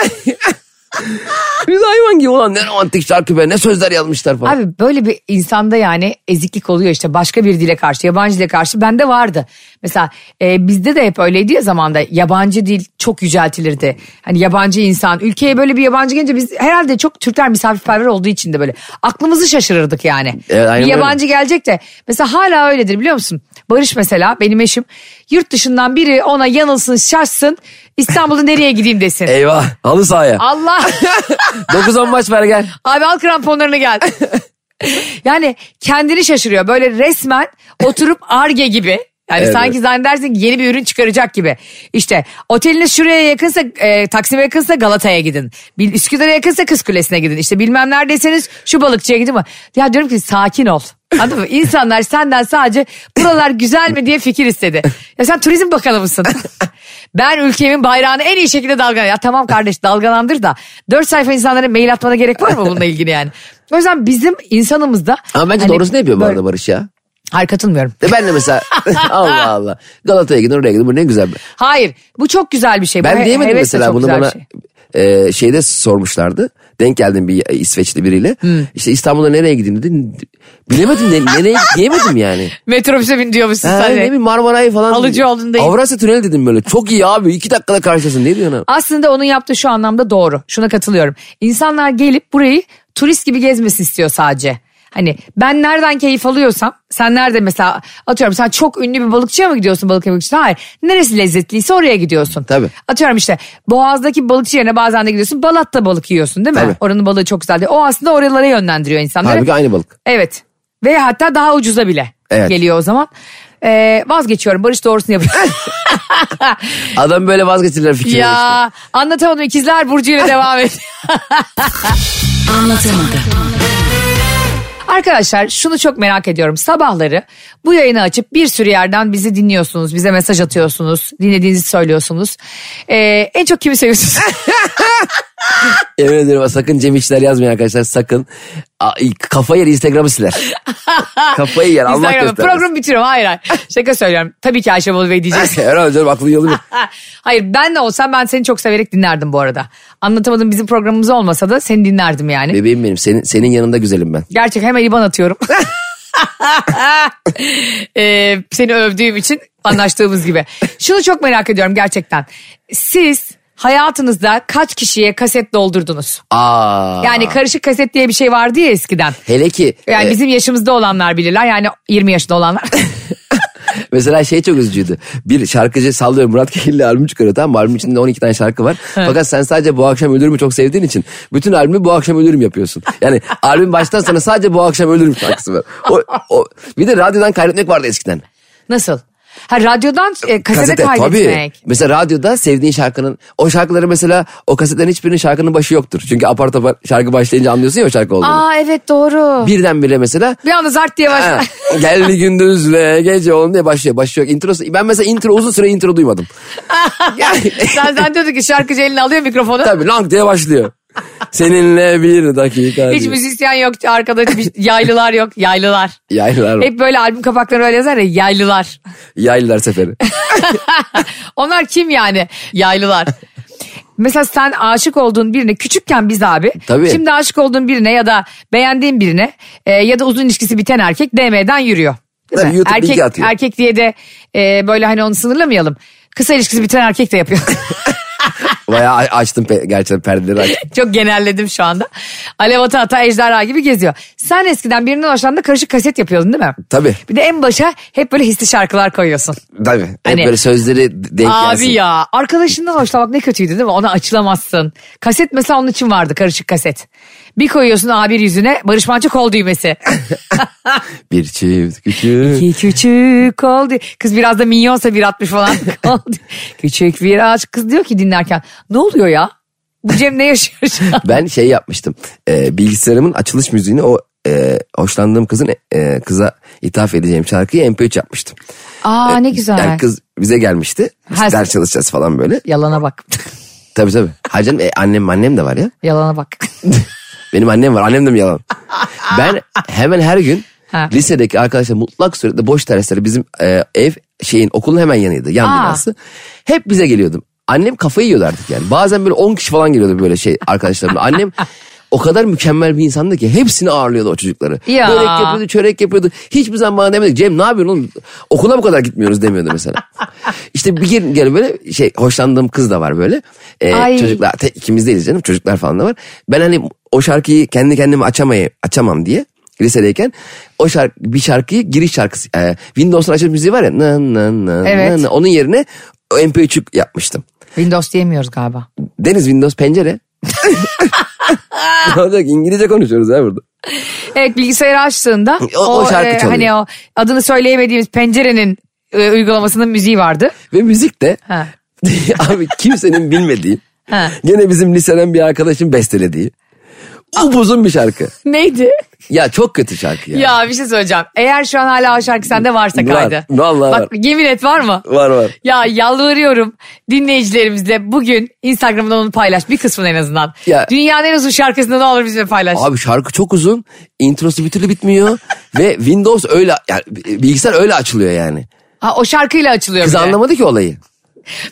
[SPEAKER 3] Biz hayvan gibi olan ne romantik şarkı be ne sözler yazmışlar falan.
[SPEAKER 2] Abi böyle bir insanda yani eziklik oluyor işte başka bir dile karşı yabancı dile karşı bende vardı. Mesela e, bizde de hep öyleydi ya zamanda yabancı dil çok yüceltilirdi. Hani yabancı insan ülkeye böyle bir yabancı gelince biz herhalde çok Türkler misafirperver olduğu için de böyle aklımızı şaşırırdık yani.
[SPEAKER 3] Evet, E, aynen
[SPEAKER 2] bir
[SPEAKER 3] öyle.
[SPEAKER 2] yabancı gelecek de mesela hala öyledir biliyor musun? Barış mesela benim eşim yurt dışından biri ona yanılsın şaşsın İstanbul'da nereye gideyim desin.
[SPEAKER 3] Eyvah halı sahaya.
[SPEAKER 2] Allah
[SPEAKER 3] 9-10 maç ver gel.
[SPEAKER 2] Abi al kramponlarını gel. yani kendini şaşırıyor. Böyle resmen oturup arge gibi. Yani
[SPEAKER 3] Evet.
[SPEAKER 2] sanki zannedersin ki yeni bir ürün çıkaracak gibi. İşte oteliniz şuraya yakınsa e, Taksim'e yakınsa Galata'ya gidin. Bil, Üsküdar'a yakınsa Kız Kulesi'ne gidin. İşte bilmem neredeyseniz şu balıkçıya gidin. Ya diyorum ki sakin ol. Anladın mı? İnsanlar senden sadece buralar güzel mi diye fikir istedi. Ya sen turizm bakanı mısın? ben ülkemin bayrağını en iyi şekilde dalgalan. Ya tamam kardeş dalgalandır da. Dört sayfa insanlara mail atmana gerek var mı bununla ilgili yani? O yüzden bizim insanımızda...
[SPEAKER 3] Ama bence
[SPEAKER 2] hani
[SPEAKER 3] doğrusunu yapıyor bu
[SPEAKER 2] böyle-
[SPEAKER 3] arada Barış ya.
[SPEAKER 2] Hayır katılmıyorum.
[SPEAKER 3] E ben de mesela Allah Allah Galata'ya gidin oraya gidin bu ne güzel. be.
[SPEAKER 2] Hayır bu çok güzel bir şey. bu
[SPEAKER 3] Ben
[SPEAKER 2] he-
[SPEAKER 3] diyemedim
[SPEAKER 2] heves de
[SPEAKER 3] mesela
[SPEAKER 2] çok
[SPEAKER 3] bunu
[SPEAKER 2] güzel bir
[SPEAKER 3] bana
[SPEAKER 2] şey.
[SPEAKER 3] e, şeyde sormuşlardı. Denk geldim bir İsveçli biriyle. İşte İstanbul'a nereye gideyim dedi. Bilemedim ne, nereye diyemedim yani.
[SPEAKER 2] Metrobüse bin diyormuşsun
[SPEAKER 3] Ha,
[SPEAKER 2] sen
[SPEAKER 3] ne
[SPEAKER 2] de.
[SPEAKER 3] bileyim Marmara'yı falan.
[SPEAKER 2] Alıcı olduğundayım.
[SPEAKER 3] Avrasya Tüneli dedim böyle. Çok iyi abi iki dakikada karşılasın ne diyorsun? abi?
[SPEAKER 2] Aslında onun yaptığı şu anlamda doğru. Şuna katılıyorum. İnsanlar gelip burayı turist gibi gezmesi istiyor sadece. Hani ben nereden keyif alıyorsam sen nerede mesela atıyorum sen çok ünlü bir balıkçıya mı gidiyorsun balık yemek için? Hayır. Neresi lezzetliyse oraya gidiyorsun.
[SPEAKER 3] Tabii.
[SPEAKER 2] Atıyorum işte Boğaz'daki balıkçı yerine bazen de gidiyorsun Balat'ta balık yiyorsun değil mi?
[SPEAKER 3] Tabii.
[SPEAKER 2] Oranın balığı çok güzel diye. O aslında oralara yönlendiriyor insanları.
[SPEAKER 3] Halbuki aynı balık.
[SPEAKER 2] Evet. Ve hatta daha ucuza bile
[SPEAKER 3] Evet.
[SPEAKER 2] geliyor o zaman. Ee, vazgeçiyorum Barış doğrusunu yapıyor.
[SPEAKER 3] Adam böyle vazgeçirler fikrini.
[SPEAKER 2] ya anlatamadım ikizler Burcu ile devam et.
[SPEAKER 4] Anlatamadım.
[SPEAKER 2] Arkadaşlar şunu çok merak ediyorum. Sabahları bu yayını açıp bir sürü yerden bizi dinliyorsunuz. Bize mesaj atıyorsunuz. Dinlediğinizi söylüyorsunuz. Ee, en çok kimi seviyorsunuz?
[SPEAKER 3] Yemin ediyorum sakın Cem İşler yazmayın arkadaşlar sakın. A- Kafayı yer Instagram'ı siler. Kafayı yer Allah
[SPEAKER 2] Instagram'da.
[SPEAKER 3] göstermesin.
[SPEAKER 2] Programı bitiriyorum. Hayır hayır. Şaka söylüyorum. Tabii ki Ayşe Bolu Bey diyeceksin.
[SPEAKER 3] Herhalde canım aklın yolu mu?
[SPEAKER 2] Ha, Hayır ben de olsam ben seni çok severek dinlerdim bu arada. Anlatamadım bizim programımız olmasa da seni dinlerdim yani.
[SPEAKER 3] Bebeğim benim senin, senin yanında güzelim ben.
[SPEAKER 2] Gerçek hemen IBAN atıyorum. Ee, seni övdüğüm için anlaştığımız gibi. Şunu çok merak ediyorum gerçekten. Siz hayatınızda kaç kişiye kaset doldurdunuz?
[SPEAKER 3] Aa.
[SPEAKER 2] Yani karışık kaset diye bir şey vardı ya eskiden.
[SPEAKER 3] Hele ki
[SPEAKER 2] Yani
[SPEAKER 3] e,
[SPEAKER 2] bizim yaşımızda olanlar bilirler yani 20 yaşında olanlar.
[SPEAKER 3] mesela şey çok üzücüydü. Bir şarkıcı sallıyor Murat Kekilli albüm çıkarıyor tamam mı? Albüm içinde 12 tane şarkı var. Fakat sen sadece bu akşam ölürümü çok sevdiğin için bütün albümü bu akşam ölürüm yapıyorsun. Yani albüm baştan sana sadece bu akşam ölürüm şarkısı var. O, o, bir de radyodan kaydetmek vardı eskiden.
[SPEAKER 2] Nasıl? Ha radyodan e, kasete,
[SPEAKER 3] tabii.
[SPEAKER 2] kaydetmek.
[SPEAKER 3] Mesela radyoda sevdiğin şarkının o şarkıları mesela o kasetlerin hiçbirinin şarkının başı yoktur. Çünkü apar topar şarkı başlayınca anlıyorsun ya o şarkı olduğunu.
[SPEAKER 2] Aa evet doğru.
[SPEAKER 3] Birdenbire mesela
[SPEAKER 2] Bir anda zart diye
[SPEAKER 3] ha,
[SPEAKER 2] başlar.
[SPEAKER 3] geldi gündüzle gece oldu diye başlıyor. Başlıyor introsu. Ben mesela intro uzun süre intro duymadım. Yani-
[SPEAKER 2] Sen zannediyordun ki şarkıcı elini alıyor mikrofonu.
[SPEAKER 3] Tabii lang diye başlıyor. Seninle bir dakika.
[SPEAKER 2] Hiç
[SPEAKER 3] diyor.
[SPEAKER 2] müzisyen yok arkada hiç- yaylılar yok yaylılar.
[SPEAKER 3] Yaylılar,
[SPEAKER 2] Hep böyle albüm kapakları öyle yazar ya yaylılar.
[SPEAKER 3] yaylılar seferi.
[SPEAKER 2] Onlar kim yani yaylılar? Mesela sen aşık olduğun birine küçükken biz abi.
[SPEAKER 3] Tabii.
[SPEAKER 2] Şimdi aşık olduğun birine ya da beğendiğin birine e, ya da uzun ilişkisi biten erkek DM'den yürüyor. Değil
[SPEAKER 3] Tabii
[SPEAKER 2] mi?
[SPEAKER 3] YouTube
[SPEAKER 2] erkek,
[SPEAKER 3] bilgi atıyor.
[SPEAKER 2] erkek diye de e, böyle hani onu sınırlamayalım. Kısa ilişkisi biten erkek de yapıyor.
[SPEAKER 3] Bayağı a- açtım pe- gerçekten perdeleri açtım.
[SPEAKER 2] Çok genelledim şu anda. Alev ata ata ejderha gibi geziyor. Sen eskiden birinden hoşlandığında karışık kaset yapıyordun değil mi?
[SPEAKER 3] Tabii.
[SPEAKER 2] Bir de en başa hep böyle hisli şarkılar koyuyorsun.
[SPEAKER 3] Tabii. Hep
[SPEAKER 2] Hani-
[SPEAKER 3] böyle sözleri d- denk
[SPEAKER 2] Abi
[SPEAKER 3] gelsin.
[SPEAKER 2] ya arkadaşından hoşlanmak ne kötüydü değil mi? Ona açılamazsın. Kaset mesela onun için vardı karışık kaset. Bir koyuyorsun A1 yüzüne Barış Manço kol düğmesi.
[SPEAKER 3] Bir çift küçük.
[SPEAKER 2] Ki küçük kol düğ- Kız biraz da minyonsa 1.60 falan. Kol düğ- küçük bir ağaç. Kız diyor ki dinlerken ne oluyor ya? Bu Cem ne yaşıyor şu an?
[SPEAKER 3] Ben şey yapmıştım. Ee, bilgisayarımın açılış müziğini o e, hoşlandığım kızın e, kıza ithaf edeceğim şarkıyı MP3 yapmıştım.
[SPEAKER 2] Aa ne güzel.
[SPEAKER 3] Yani kız bize gelmişti. Biz
[SPEAKER 2] Her-
[SPEAKER 3] ders çalışacağız falan böyle.
[SPEAKER 2] Yalana bak.
[SPEAKER 3] Tabii tabii. Hayır canım e, annem annem de var ya.
[SPEAKER 2] Yalana bak.
[SPEAKER 3] Benim annem var. Annem de mi yalan? ben hemen her gün
[SPEAKER 2] Ha.
[SPEAKER 3] lisedeki arkadaşlar mutlak surette boş derslere bizim e, ev şeyin okulun hemen yanıydı. Yan
[SPEAKER 2] Aa.
[SPEAKER 3] binası. Hep bize geliyordum. Annem kafayı yiyordu artık yani. Bazen böyle 10 kişi falan geliyordu böyle şey arkadaşlarımla. Annem o kadar mükemmel bir insandı ki hepsini ağırlıyordu o çocukları.
[SPEAKER 2] Ya.
[SPEAKER 3] Börek yapıyordu, çörek yapıyordu. Hiçbir zaman bana demedi. Cem ne yapıyorsun oğlum? Okula bu kadar gitmiyoruz demiyordu mesela. işte bir gün gene böyle şey hoşlandığım kız da var böyle. Ee,
[SPEAKER 2] Ay.
[SPEAKER 3] çocuklar ya te- ikimiz değiliz canım çocuklar falan da var. Ben hani o şarkıyı kendi kendime açamay açamam diye lisedeyken o şarkı bir şarkıyı giriş şarkısı e, Windows'un açılış müziği var ya na na na
[SPEAKER 2] Evet.
[SPEAKER 3] na na, onun yerine o MP3'ü yapmıştım.
[SPEAKER 2] Windows diyemiyoruz galiba.
[SPEAKER 3] Deniz Windows pencere. ne olacak İngilizce konuşuyoruz ya burada.
[SPEAKER 2] Evet bilgisayarı açtığında
[SPEAKER 3] O- o şarkı çalıyor.
[SPEAKER 2] hani o adını söyleyemediğimiz pencerenin e, uygulamasının müziği vardı.
[SPEAKER 3] Ve müzik de
[SPEAKER 2] Ha.
[SPEAKER 3] abi kimsenin bilmediği
[SPEAKER 2] Ha.
[SPEAKER 3] gene bizim liseden bir arkadaşın bestelediği
[SPEAKER 2] Ah.
[SPEAKER 3] uzun bir şarkı.
[SPEAKER 2] Neydi?
[SPEAKER 3] Ya çok kötü şarkı ya.
[SPEAKER 2] Ya bir şey söyleyeceğim. Eğer şu an hala o şarkı sende varsa
[SPEAKER 3] Var,
[SPEAKER 2] kaydı.
[SPEAKER 3] vallahi
[SPEAKER 2] Bak
[SPEAKER 3] var.
[SPEAKER 2] yemin et var mı?
[SPEAKER 3] Var var.
[SPEAKER 2] Ya yalvarıyorum dinleyicilerimizle bugün Instagram'dan onu paylaş. Bir kısmını en azından.
[SPEAKER 3] Ya-
[SPEAKER 2] Dünyanın en uzun şarkısını ne olur bizimle paylaş.
[SPEAKER 3] Abi şarkı çok uzun. Introsu bir türlü bitmiyor. ve Windows öyle yani bilgisayar öyle açılıyor yani.
[SPEAKER 2] Ha, o şarkıyla açılıyor
[SPEAKER 3] Kız
[SPEAKER 2] bir de.
[SPEAKER 3] anlamadı ki olayı.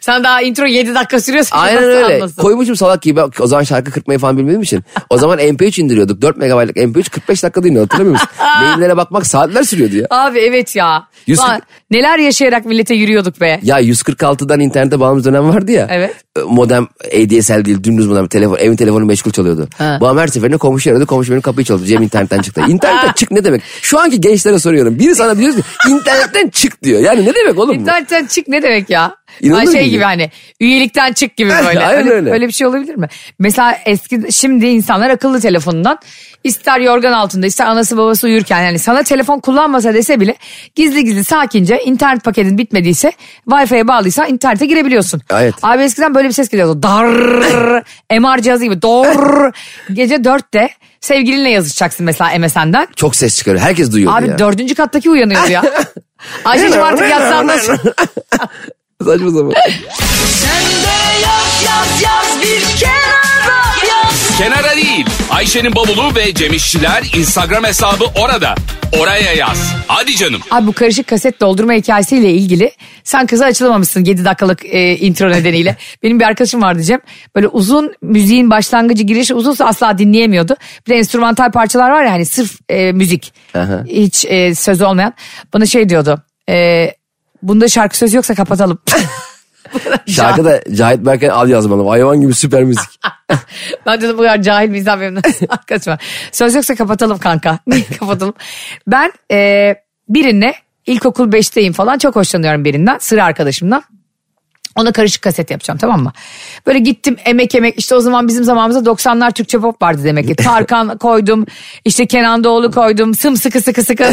[SPEAKER 2] Sen daha intro 7 dakika sürüyorsun.
[SPEAKER 3] Aynen
[SPEAKER 2] Nasıl
[SPEAKER 3] öyle.
[SPEAKER 2] anlasın?
[SPEAKER 3] Koymuşum salak gibi. Ben O zaman şarkı kırpmayı falan bilmediğim için. O zaman MP3 indiriyorduk. 4 megabaytlık MP3 45 dakika dinliyorduk. Hatırlamıyor musun? Maillere bakmak saatler sürüyordu ya.
[SPEAKER 2] Abi evet ya.
[SPEAKER 3] Yüz-
[SPEAKER 2] Ulan neler yaşayarak millete yürüyorduk be.
[SPEAKER 3] Ya 146'dan internete bağımlı dönem vardı ya.
[SPEAKER 2] Evet.
[SPEAKER 3] E, Modem ADSL değil dümdüz modem. Telefon, evin telefonu meşgul çalıyordu.
[SPEAKER 2] Ha.
[SPEAKER 3] Babam her seferinde komşu aradı. Komşu benim kapıyı çaldı. Cem internetten çıktı. İnternetten çık ne demek? Şu anki gençlere soruyorum. Biri sana biliyorsun ki internetten çık diyor. Yani ne demek oğlum bu?
[SPEAKER 2] İnternetten çık ne demek ya?
[SPEAKER 3] İnanılır
[SPEAKER 2] Yani şey
[SPEAKER 3] mı?
[SPEAKER 2] gibi hani üyelikten çık gibi
[SPEAKER 3] Evet,
[SPEAKER 2] böyle.
[SPEAKER 3] aynen
[SPEAKER 2] öyle,
[SPEAKER 3] öyle.
[SPEAKER 2] öyle bir şey olabilir mi? Mesela eski şimdi insanlar akıllı telefonundan ister yorgan altında ister anası babası uyurken yani sana telefon kullanmasa dese bile gizli gizli sakince internet paketin bitmediyse Wi-Fi'ye bağlıysa internete girebiliyorsun.
[SPEAKER 3] Evet.
[SPEAKER 2] Abi eskiden böyle bir ses geliyordu. Dar MR cihazı gibi. Dor. Gece dörtte sevgilinle yazışacaksın mesela MSN'den.
[SPEAKER 3] Çok ses çıkarıyor. Herkes duyuyor
[SPEAKER 2] Abi
[SPEAKER 3] ya.
[SPEAKER 2] dördüncü kattaki uyanıyordu ya. Ayşe'cim artık yatsan da
[SPEAKER 3] Saçma sapan.
[SPEAKER 4] Kenara değil. Ayşe'nin bavulu ve Cemişçiler Instagram hesabı orada. Oraya yaz. Hadi canım.
[SPEAKER 2] Abi bu karışık kaset doldurma hikayesiyle ilgili sen kıza açılamamışsın 7 dakikalık e, intro nedeniyle. Benim bir arkadaşım vardı Cem. Böyle uzun müziğin başlangıcı girişi uzunsa asla dinleyemiyordu. Bir de enstrümantal parçalar var ya hani sırf e, müzik.
[SPEAKER 3] Aha.
[SPEAKER 2] Hiç e, söz olmayan. Bana şey diyordu. E, bunda şarkı sözü yoksa kapatalım.
[SPEAKER 3] Şarkı da Cahit Berkay al yazmalı. Hayvan gibi süper müzik.
[SPEAKER 2] Ben dedim bu kadar cahil bir insan benim nasıl arkadaşım var. Söz yoksa kapatalım kanka. Niye kapatalım? Ben e, birine ilkokul 5'teyim falan çok hoşlanıyorum birinden. Sıra arkadaşımdan. Ona karışık kaset yapacağım tamam mı? Böyle gittim emek emek işte o zaman bizim zamanımızda 90'lar Türkçe pop vardı demek ki. Tarkan koydum işte Kenan Doğulu koydum sımsıkı sıkı sıkı.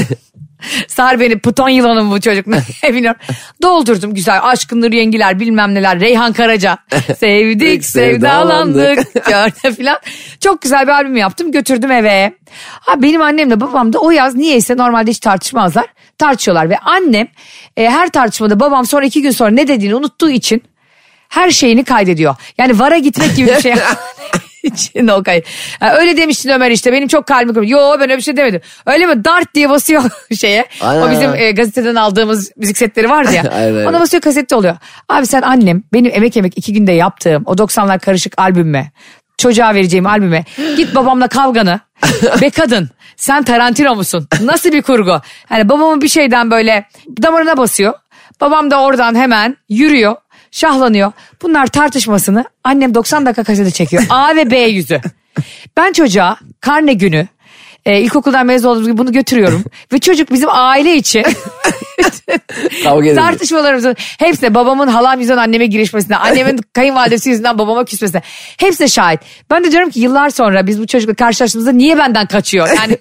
[SPEAKER 2] Sar beni Python yılanım bu çocuk ne bilmiyorum. Doldurdum güzel aşkındır yengiler bilmem neler Reyhan Karaca. Sevdik sevdalandık gördü filan. Çok güzel bir albüm yaptım götürdüm eve. Ha, benim annemle babam da o yaz niyeyse normalde hiç tartışmazlar. Tartışıyorlar ve annem e, her tartışmada babam sonra iki gün sonra ne dediğini unuttuğu için her şeyini kaydediyor. Yani vara gitmek gibi bir şey. için o kayıt. Ha, öyle demiştin Ömer işte benim çok kalbim kırıldı. Yo ben öyle bir şey demedim. Öyle mi dart diye basıyor şeye.
[SPEAKER 3] Aynen,
[SPEAKER 2] o bizim
[SPEAKER 3] aynen.
[SPEAKER 2] e, gazeteden aldığımız müzik setleri vardı ya.
[SPEAKER 3] Aynen, aynen.
[SPEAKER 2] Ona basıyor kasette oluyor. Abi sen annem benim emek emek iki günde yaptığım o 90'lar karışık albümme çocuğa vereceğim albüme git babamla kavganı be kadın sen Tarantino musun? Nasıl bir kurgu? Hani babamın bir şeyden böyle damarına basıyor. Babam da oradan hemen yürüyor. Şahlanıyor. Bunlar tartışmasını annem 90 dakika kasete çekiyor. A ve B yüzü. Ben çocuğa karne günü e, ilkokuldan mezun olduğumuz gibi bunu götürüyorum. ve çocuk bizim aile içi
[SPEAKER 3] Kavga edildi.
[SPEAKER 2] tartışmalarımızın hepsine babamın halam yüzünden anneme girişmesine, annemin kayınvalidesi yüzünden babama küsmesine. Hepsine şahit. Ben de diyorum ki yıllar sonra biz bu çocukla karşılaştığımızda niye benden kaçıyor? Yani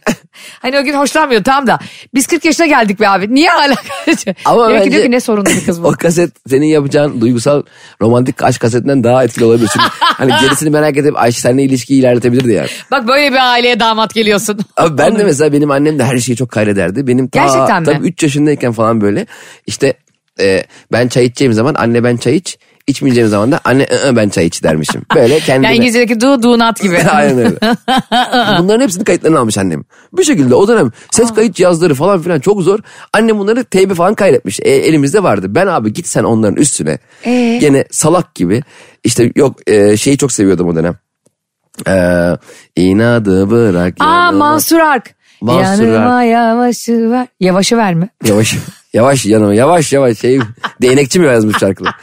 [SPEAKER 2] hani o gün hoşlanmıyor tamam da biz 40 yaşına geldik be abi. Niye hala kaçıyor?
[SPEAKER 3] Ama
[SPEAKER 2] Demek ki
[SPEAKER 3] bence-
[SPEAKER 2] diyor ki ne sorunlu bir kız
[SPEAKER 3] o
[SPEAKER 2] bu.
[SPEAKER 3] kaset senin yapacağın duygusal romantik aşk kasetinden daha etkili olabilir. Çünkü hani gerisini merak edip Ayşe seninle ilişkiyi ilerletebilirdi yani.
[SPEAKER 2] Bak böyle bir aileye damat geliyorsun.
[SPEAKER 3] Abi ben de mesela benim annem de her şeyi çok kaydederdi. Benim ta,
[SPEAKER 2] Gerçekten mi?
[SPEAKER 3] Tabii 3 yaşındayken falan böyle işte e, ben çay içeceğim zaman anne ben çay iç. içmeyeceğim zaman da anne "I, ı, ben çay iç dermişim. Böyle kendime.
[SPEAKER 2] Yani İngilizce'deki do do not gibi.
[SPEAKER 3] Aynen öyle. Bunların hepsini kayıtlarını almış annem. Bir şekilde o dönem ses kayıt cihazları falan filan çok zor. Annem bunları teybe falan kaydetmiş. E, elimizde vardı. Ben abi git sen onların üstüne.
[SPEAKER 2] E?
[SPEAKER 3] Gene salak gibi. İşte yok e, şeyi çok seviyordum o dönem. Ee, inadı bırak.
[SPEAKER 2] Aa
[SPEAKER 3] yanına-
[SPEAKER 2] Mansur Ark.
[SPEAKER 3] Mansur Ark.
[SPEAKER 2] Yanıma yavaşı ver. Yavaşı ver mi?
[SPEAKER 3] Yavaş yavaş yanıma yavaş yavaş. Şey, değnekçi mi yazmış şarkıları?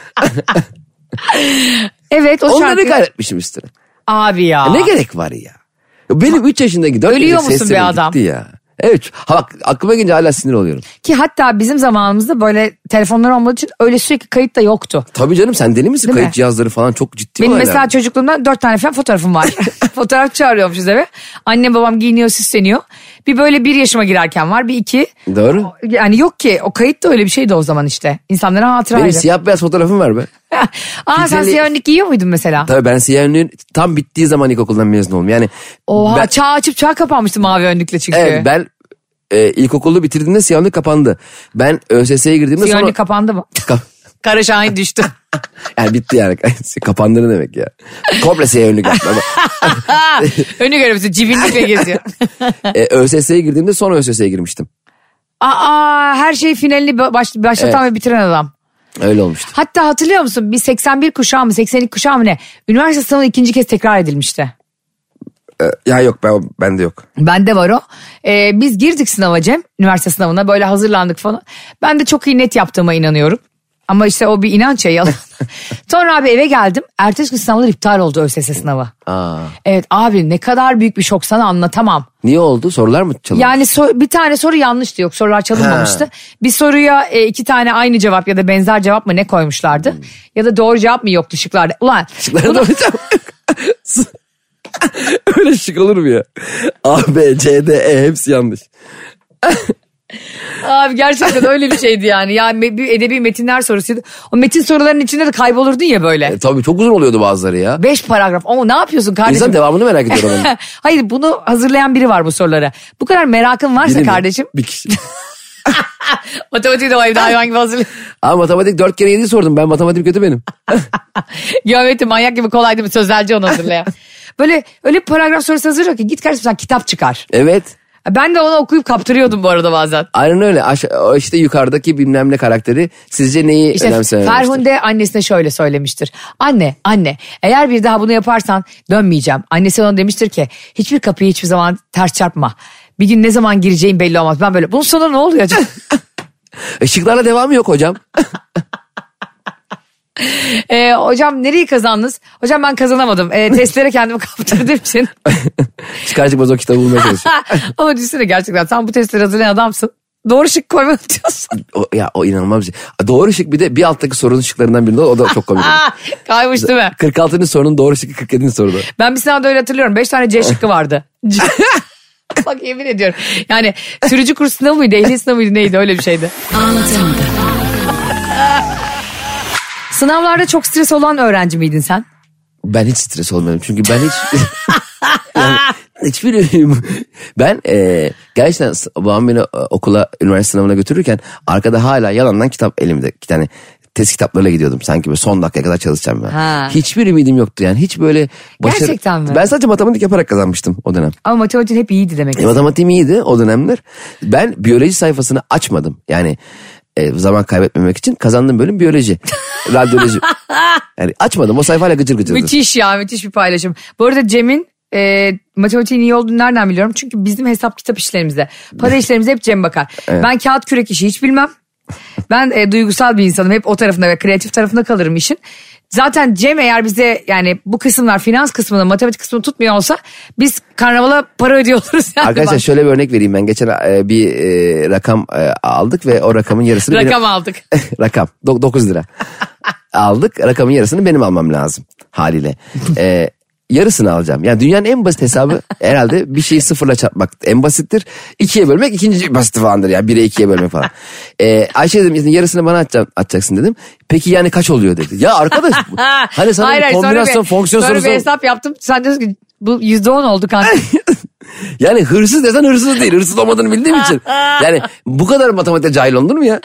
[SPEAKER 2] Evet o
[SPEAKER 3] Onları
[SPEAKER 2] şarkıyı.
[SPEAKER 3] kaydetmişim üstüne.
[SPEAKER 2] Abi ya.
[SPEAKER 3] E Ne gerek var ya? Ya Benim 3 yaşındaki 4
[SPEAKER 2] Ölüyor
[SPEAKER 3] yaşındaki
[SPEAKER 2] musun
[SPEAKER 3] sesim
[SPEAKER 2] be adam?
[SPEAKER 3] gitti ya. Evet. Ha, bak, aklıma gelince hala sinir oluyorum.
[SPEAKER 2] Ki hatta bizim zamanımızda böyle telefonlar olmadığı için öyle sürekli kayıt da yoktu.
[SPEAKER 3] Tabii canım sen deli misin?
[SPEAKER 2] Değil mi?
[SPEAKER 3] Kayıt cihazları falan çok ciddi
[SPEAKER 2] Benim
[SPEAKER 3] olaylar.
[SPEAKER 2] mesela çocukluğumdan dört tane falan fotoğrafım var. Fotoğraf çağırıyormuşuz eve. Annem babam giyiniyor süsleniyor. Bir böyle bir yaşıma girerken var bir iki.
[SPEAKER 3] Doğru.
[SPEAKER 2] Yani yok ki o kayıt da öyle bir şeydi o zaman işte. İnsanlara hatıraydı.
[SPEAKER 3] Benim siyah beyaz fotoğrafım var be.
[SPEAKER 2] Aa sen
[SPEAKER 3] Güzeli-
[SPEAKER 2] siyah önlük giyiyor muydun mesela?
[SPEAKER 3] Tabii ben siyah önlüğün tam bittiği zaman ilkokuldan mezun oldum. Yani
[SPEAKER 2] Oha
[SPEAKER 3] ben,
[SPEAKER 2] çağ açıp çağ kapanmıştı mavi önlükle çünkü.
[SPEAKER 3] evet, ben e, ilkokulu bitirdiğimde siyah önlük kapandı. Ben ÖSS'ye girdiğimde
[SPEAKER 2] Siyah
[SPEAKER 3] sonra...
[SPEAKER 2] önlük kapandı mı?
[SPEAKER 3] Kap-
[SPEAKER 2] Kara Şahin düştü.
[SPEAKER 3] yani bitti yani. Kapandı ne demek ya? Komple siyah önlük yaptım.
[SPEAKER 2] Önü görevlisi cibinlikle geziyor.
[SPEAKER 3] e, ÖSS'ye girdiğimde son ÖSS'ye girmiştim.
[SPEAKER 2] Aa her şey finalini baş- başlatan
[SPEAKER 3] Evet.
[SPEAKER 2] ve bitiren adam.
[SPEAKER 3] Öyle olmuştu.
[SPEAKER 2] Hatta hatırlıyor musun bir 81 kuşağı mı 82 kuşağı mı ne? Üniversite sınavı ikinci kez tekrar edilmişti.
[SPEAKER 3] Ya yok ben, bende yok.
[SPEAKER 2] Bende var o. Ee, biz girdik sınava Cem. Üniversite sınavına böyle hazırlandık falan. Ben de çok iyi net yaptığıma inanıyorum. Ama işte o bir inanç ya yalan. Sonra abi eve geldim. Ertesi gün sınavlar iptal oldu ÖSS sınavı.
[SPEAKER 3] Aa.
[SPEAKER 2] Evet abi ne kadar büyük bir şok sana anlatamam.
[SPEAKER 3] Niye oldu? Sorular mı çalındı?
[SPEAKER 2] Yani so- bir tane soru yanlıştı yok sorular çalınmamıştı. Bir soruya e, iki tane aynı cevap ya da benzer cevap mı ne koymuşlardı? Ya da doğru cevap mı yoktu şıklarda? Ulan
[SPEAKER 3] Şıklara da hocam. Öyle şık olur mu ya? A, B, C, D, E hepsi yanlış.
[SPEAKER 2] Abi gerçekten öyle bir şeydi yani. Ya me- bir edebi metinler sorusuydu. O metin sorularının içinde de kaybolurdun ya böyle.
[SPEAKER 3] E, tabii çok uzun oluyordu bazıları ya.
[SPEAKER 2] Beş paragraf. Ama ne yapıyorsun kardeşim?
[SPEAKER 3] İnsan devamını merak ediyor onun.
[SPEAKER 2] Hayır bunu hazırlayan biri var bu sorulara. Bu kadar merakın varsa
[SPEAKER 3] Biri mi?
[SPEAKER 2] kardeşim.
[SPEAKER 3] Bir kişi.
[SPEAKER 2] Matematiği de o evde hayvan gibi hazırlıyor.
[SPEAKER 3] Ama matematik dört kere yedi sordum. Ben matematik kötü benim.
[SPEAKER 2] Geometri manyak gibi kolay değil mi? Sözelci onu hazırlayan. Böyle öyle bir paragraf sorusu hazırlıyor ki git kardeşim sen kitap çıkar.
[SPEAKER 3] Evet.
[SPEAKER 2] Ben de onu okuyup kaptırıyordum bu arada bazen.
[SPEAKER 3] Aynen öyle. Aşa- o işte yukarıdaki bilmem ne karakteri sizce neyi
[SPEAKER 2] İşte
[SPEAKER 3] önemsememiştir?
[SPEAKER 2] Ferhunde annesine şöyle söylemiştir. Anne, anne eğer bir daha bunu yaparsan dönmeyeceğim. Annesi ona demiştir ki hiçbir kapıyı hiçbir zaman ters çarpma. Bir gün ne zaman gireceğin belli olmaz. Ben böyle bunun sonu ne oluyor acaba?
[SPEAKER 3] E, şıklarla devamı yok hocam.
[SPEAKER 2] Ee, hocam nereyi kazandınız? Hocam ben kazanamadım. Ee, testlere kendimi kaptırdım için.
[SPEAKER 3] Çıkar çıkmaz o kitabı bulmaya çalışıyor.
[SPEAKER 2] Ama düşünsene gerçekten sen bu testleri hazırlayan adamsın. Doğru şık koymadın diyorsun.
[SPEAKER 3] O, ya o inanılmaz bir şey. Doğru şık bir de bir alttaki sorunun şıklarından birinde o da çok komik. oldu.
[SPEAKER 2] Aa, kaymış değil mi?
[SPEAKER 3] 46. sorunun doğru şıkkı 47. soruda.
[SPEAKER 2] Ben bir sınavda öyle hatırlıyorum. Beş tane C şıkkı vardı. C- Bak yemin ediyorum. Yani sürücü kursu sınavı mıydı, ehliyet sınavı mıydı neydi öyle bir şeydi. Sınavlarda çok stres olan öğrenci miydin sen?
[SPEAKER 3] Ben hiç stres olmadım çünkü ben hiç... yani, hiçbir ünlüyüm. Ben e, gerçekten s- babam beni e, okula, üniversite sınavına götürürken arkada hala yalandan kitap elimde. iki tane test kitaplarıyla gidiyordum sanki böyle son dakikaya kadar çalışacağım ben.
[SPEAKER 2] Ha.
[SPEAKER 3] Hiçbir ümidim yoktu yani hiç böyle başarı...
[SPEAKER 2] Gerçekten mi?
[SPEAKER 3] Ben sadece matematik yaparak kazanmıştım o dönem.
[SPEAKER 2] Ama matematiğin hep iyiydi demek.
[SPEAKER 3] E, matematiğim iyiydi o dönemler. Ben biyoloji sayfasını açmadım. Yani e, zaman kaybetmemek için kazandığım bölüm biyoloji. Radyoloji. Yani açmadım o sayfayla gıcır gıcırdı.
[SPEAKER 2] Müthiş ya müthiş bir paylaşım. Bu arada Cem'in e, matematiğin iyi olduğunu nereden biliyorum? Çünkü bizim hesap kitap işlerimize, para işlerimize hep Cem bakar. Ben kağıt kürek işi hiç bilmem. Ben e, duygusal bir insanım. Hep o tarafında ve kreatif tarafında kalırım işin. Zaten Cem eğer bize yani bu kısımlar finans kısmını matematik kısmını tutmuyor olsa biz karnavala para ödüyor oluruz. Yani
[SPEAKER 3] Arkadaşlar
[SPEAKER 2] Bak,
[SPEAKER 3] şöyle bir örnek vereyim ben geçen e, bir e, rakam e, aldık ve o rakamın yarısını
[SPEAKER 2] rakam
[SPEAKER 3] benim,
[SPEAKER 2] aldık.
[SPEAKER 3] rakam 9 lira aldık rakamın yarısını benim almam lazım haliyle. E, yarısını alacağım. Yani dünyanın en basit hesabı herhalde bir şeyi sıfırla çarpmak en basittir. İkiye bölmek ikinci basiti falandır yani bire ikiye bölmek falan. E, Ayşe dedim "işte yarısını bana atacağım, atacaksın dedim. Peki yani kaç oluyor dedi. Ya arkadaş bu- hani sana bir
[SPEAKER 2] sonra
[SPEAKER 3] kombinasyon
[SPEAKER 2] bir-
[SPEAKER 3] fonksiyon
[SPEAKER 2] sonra
[SPEAKER 3] sorusu.
[SPEAKER 2] bir hesap yaptım. Sen diyorsun ki bu yüzde on oldu kanka.
[SPEAKER 3] Yani hırsız desen hırsız değil. Hırsız olmadığını bildiğim için. Yani bu kadar matematikte cahil olunur mu ya?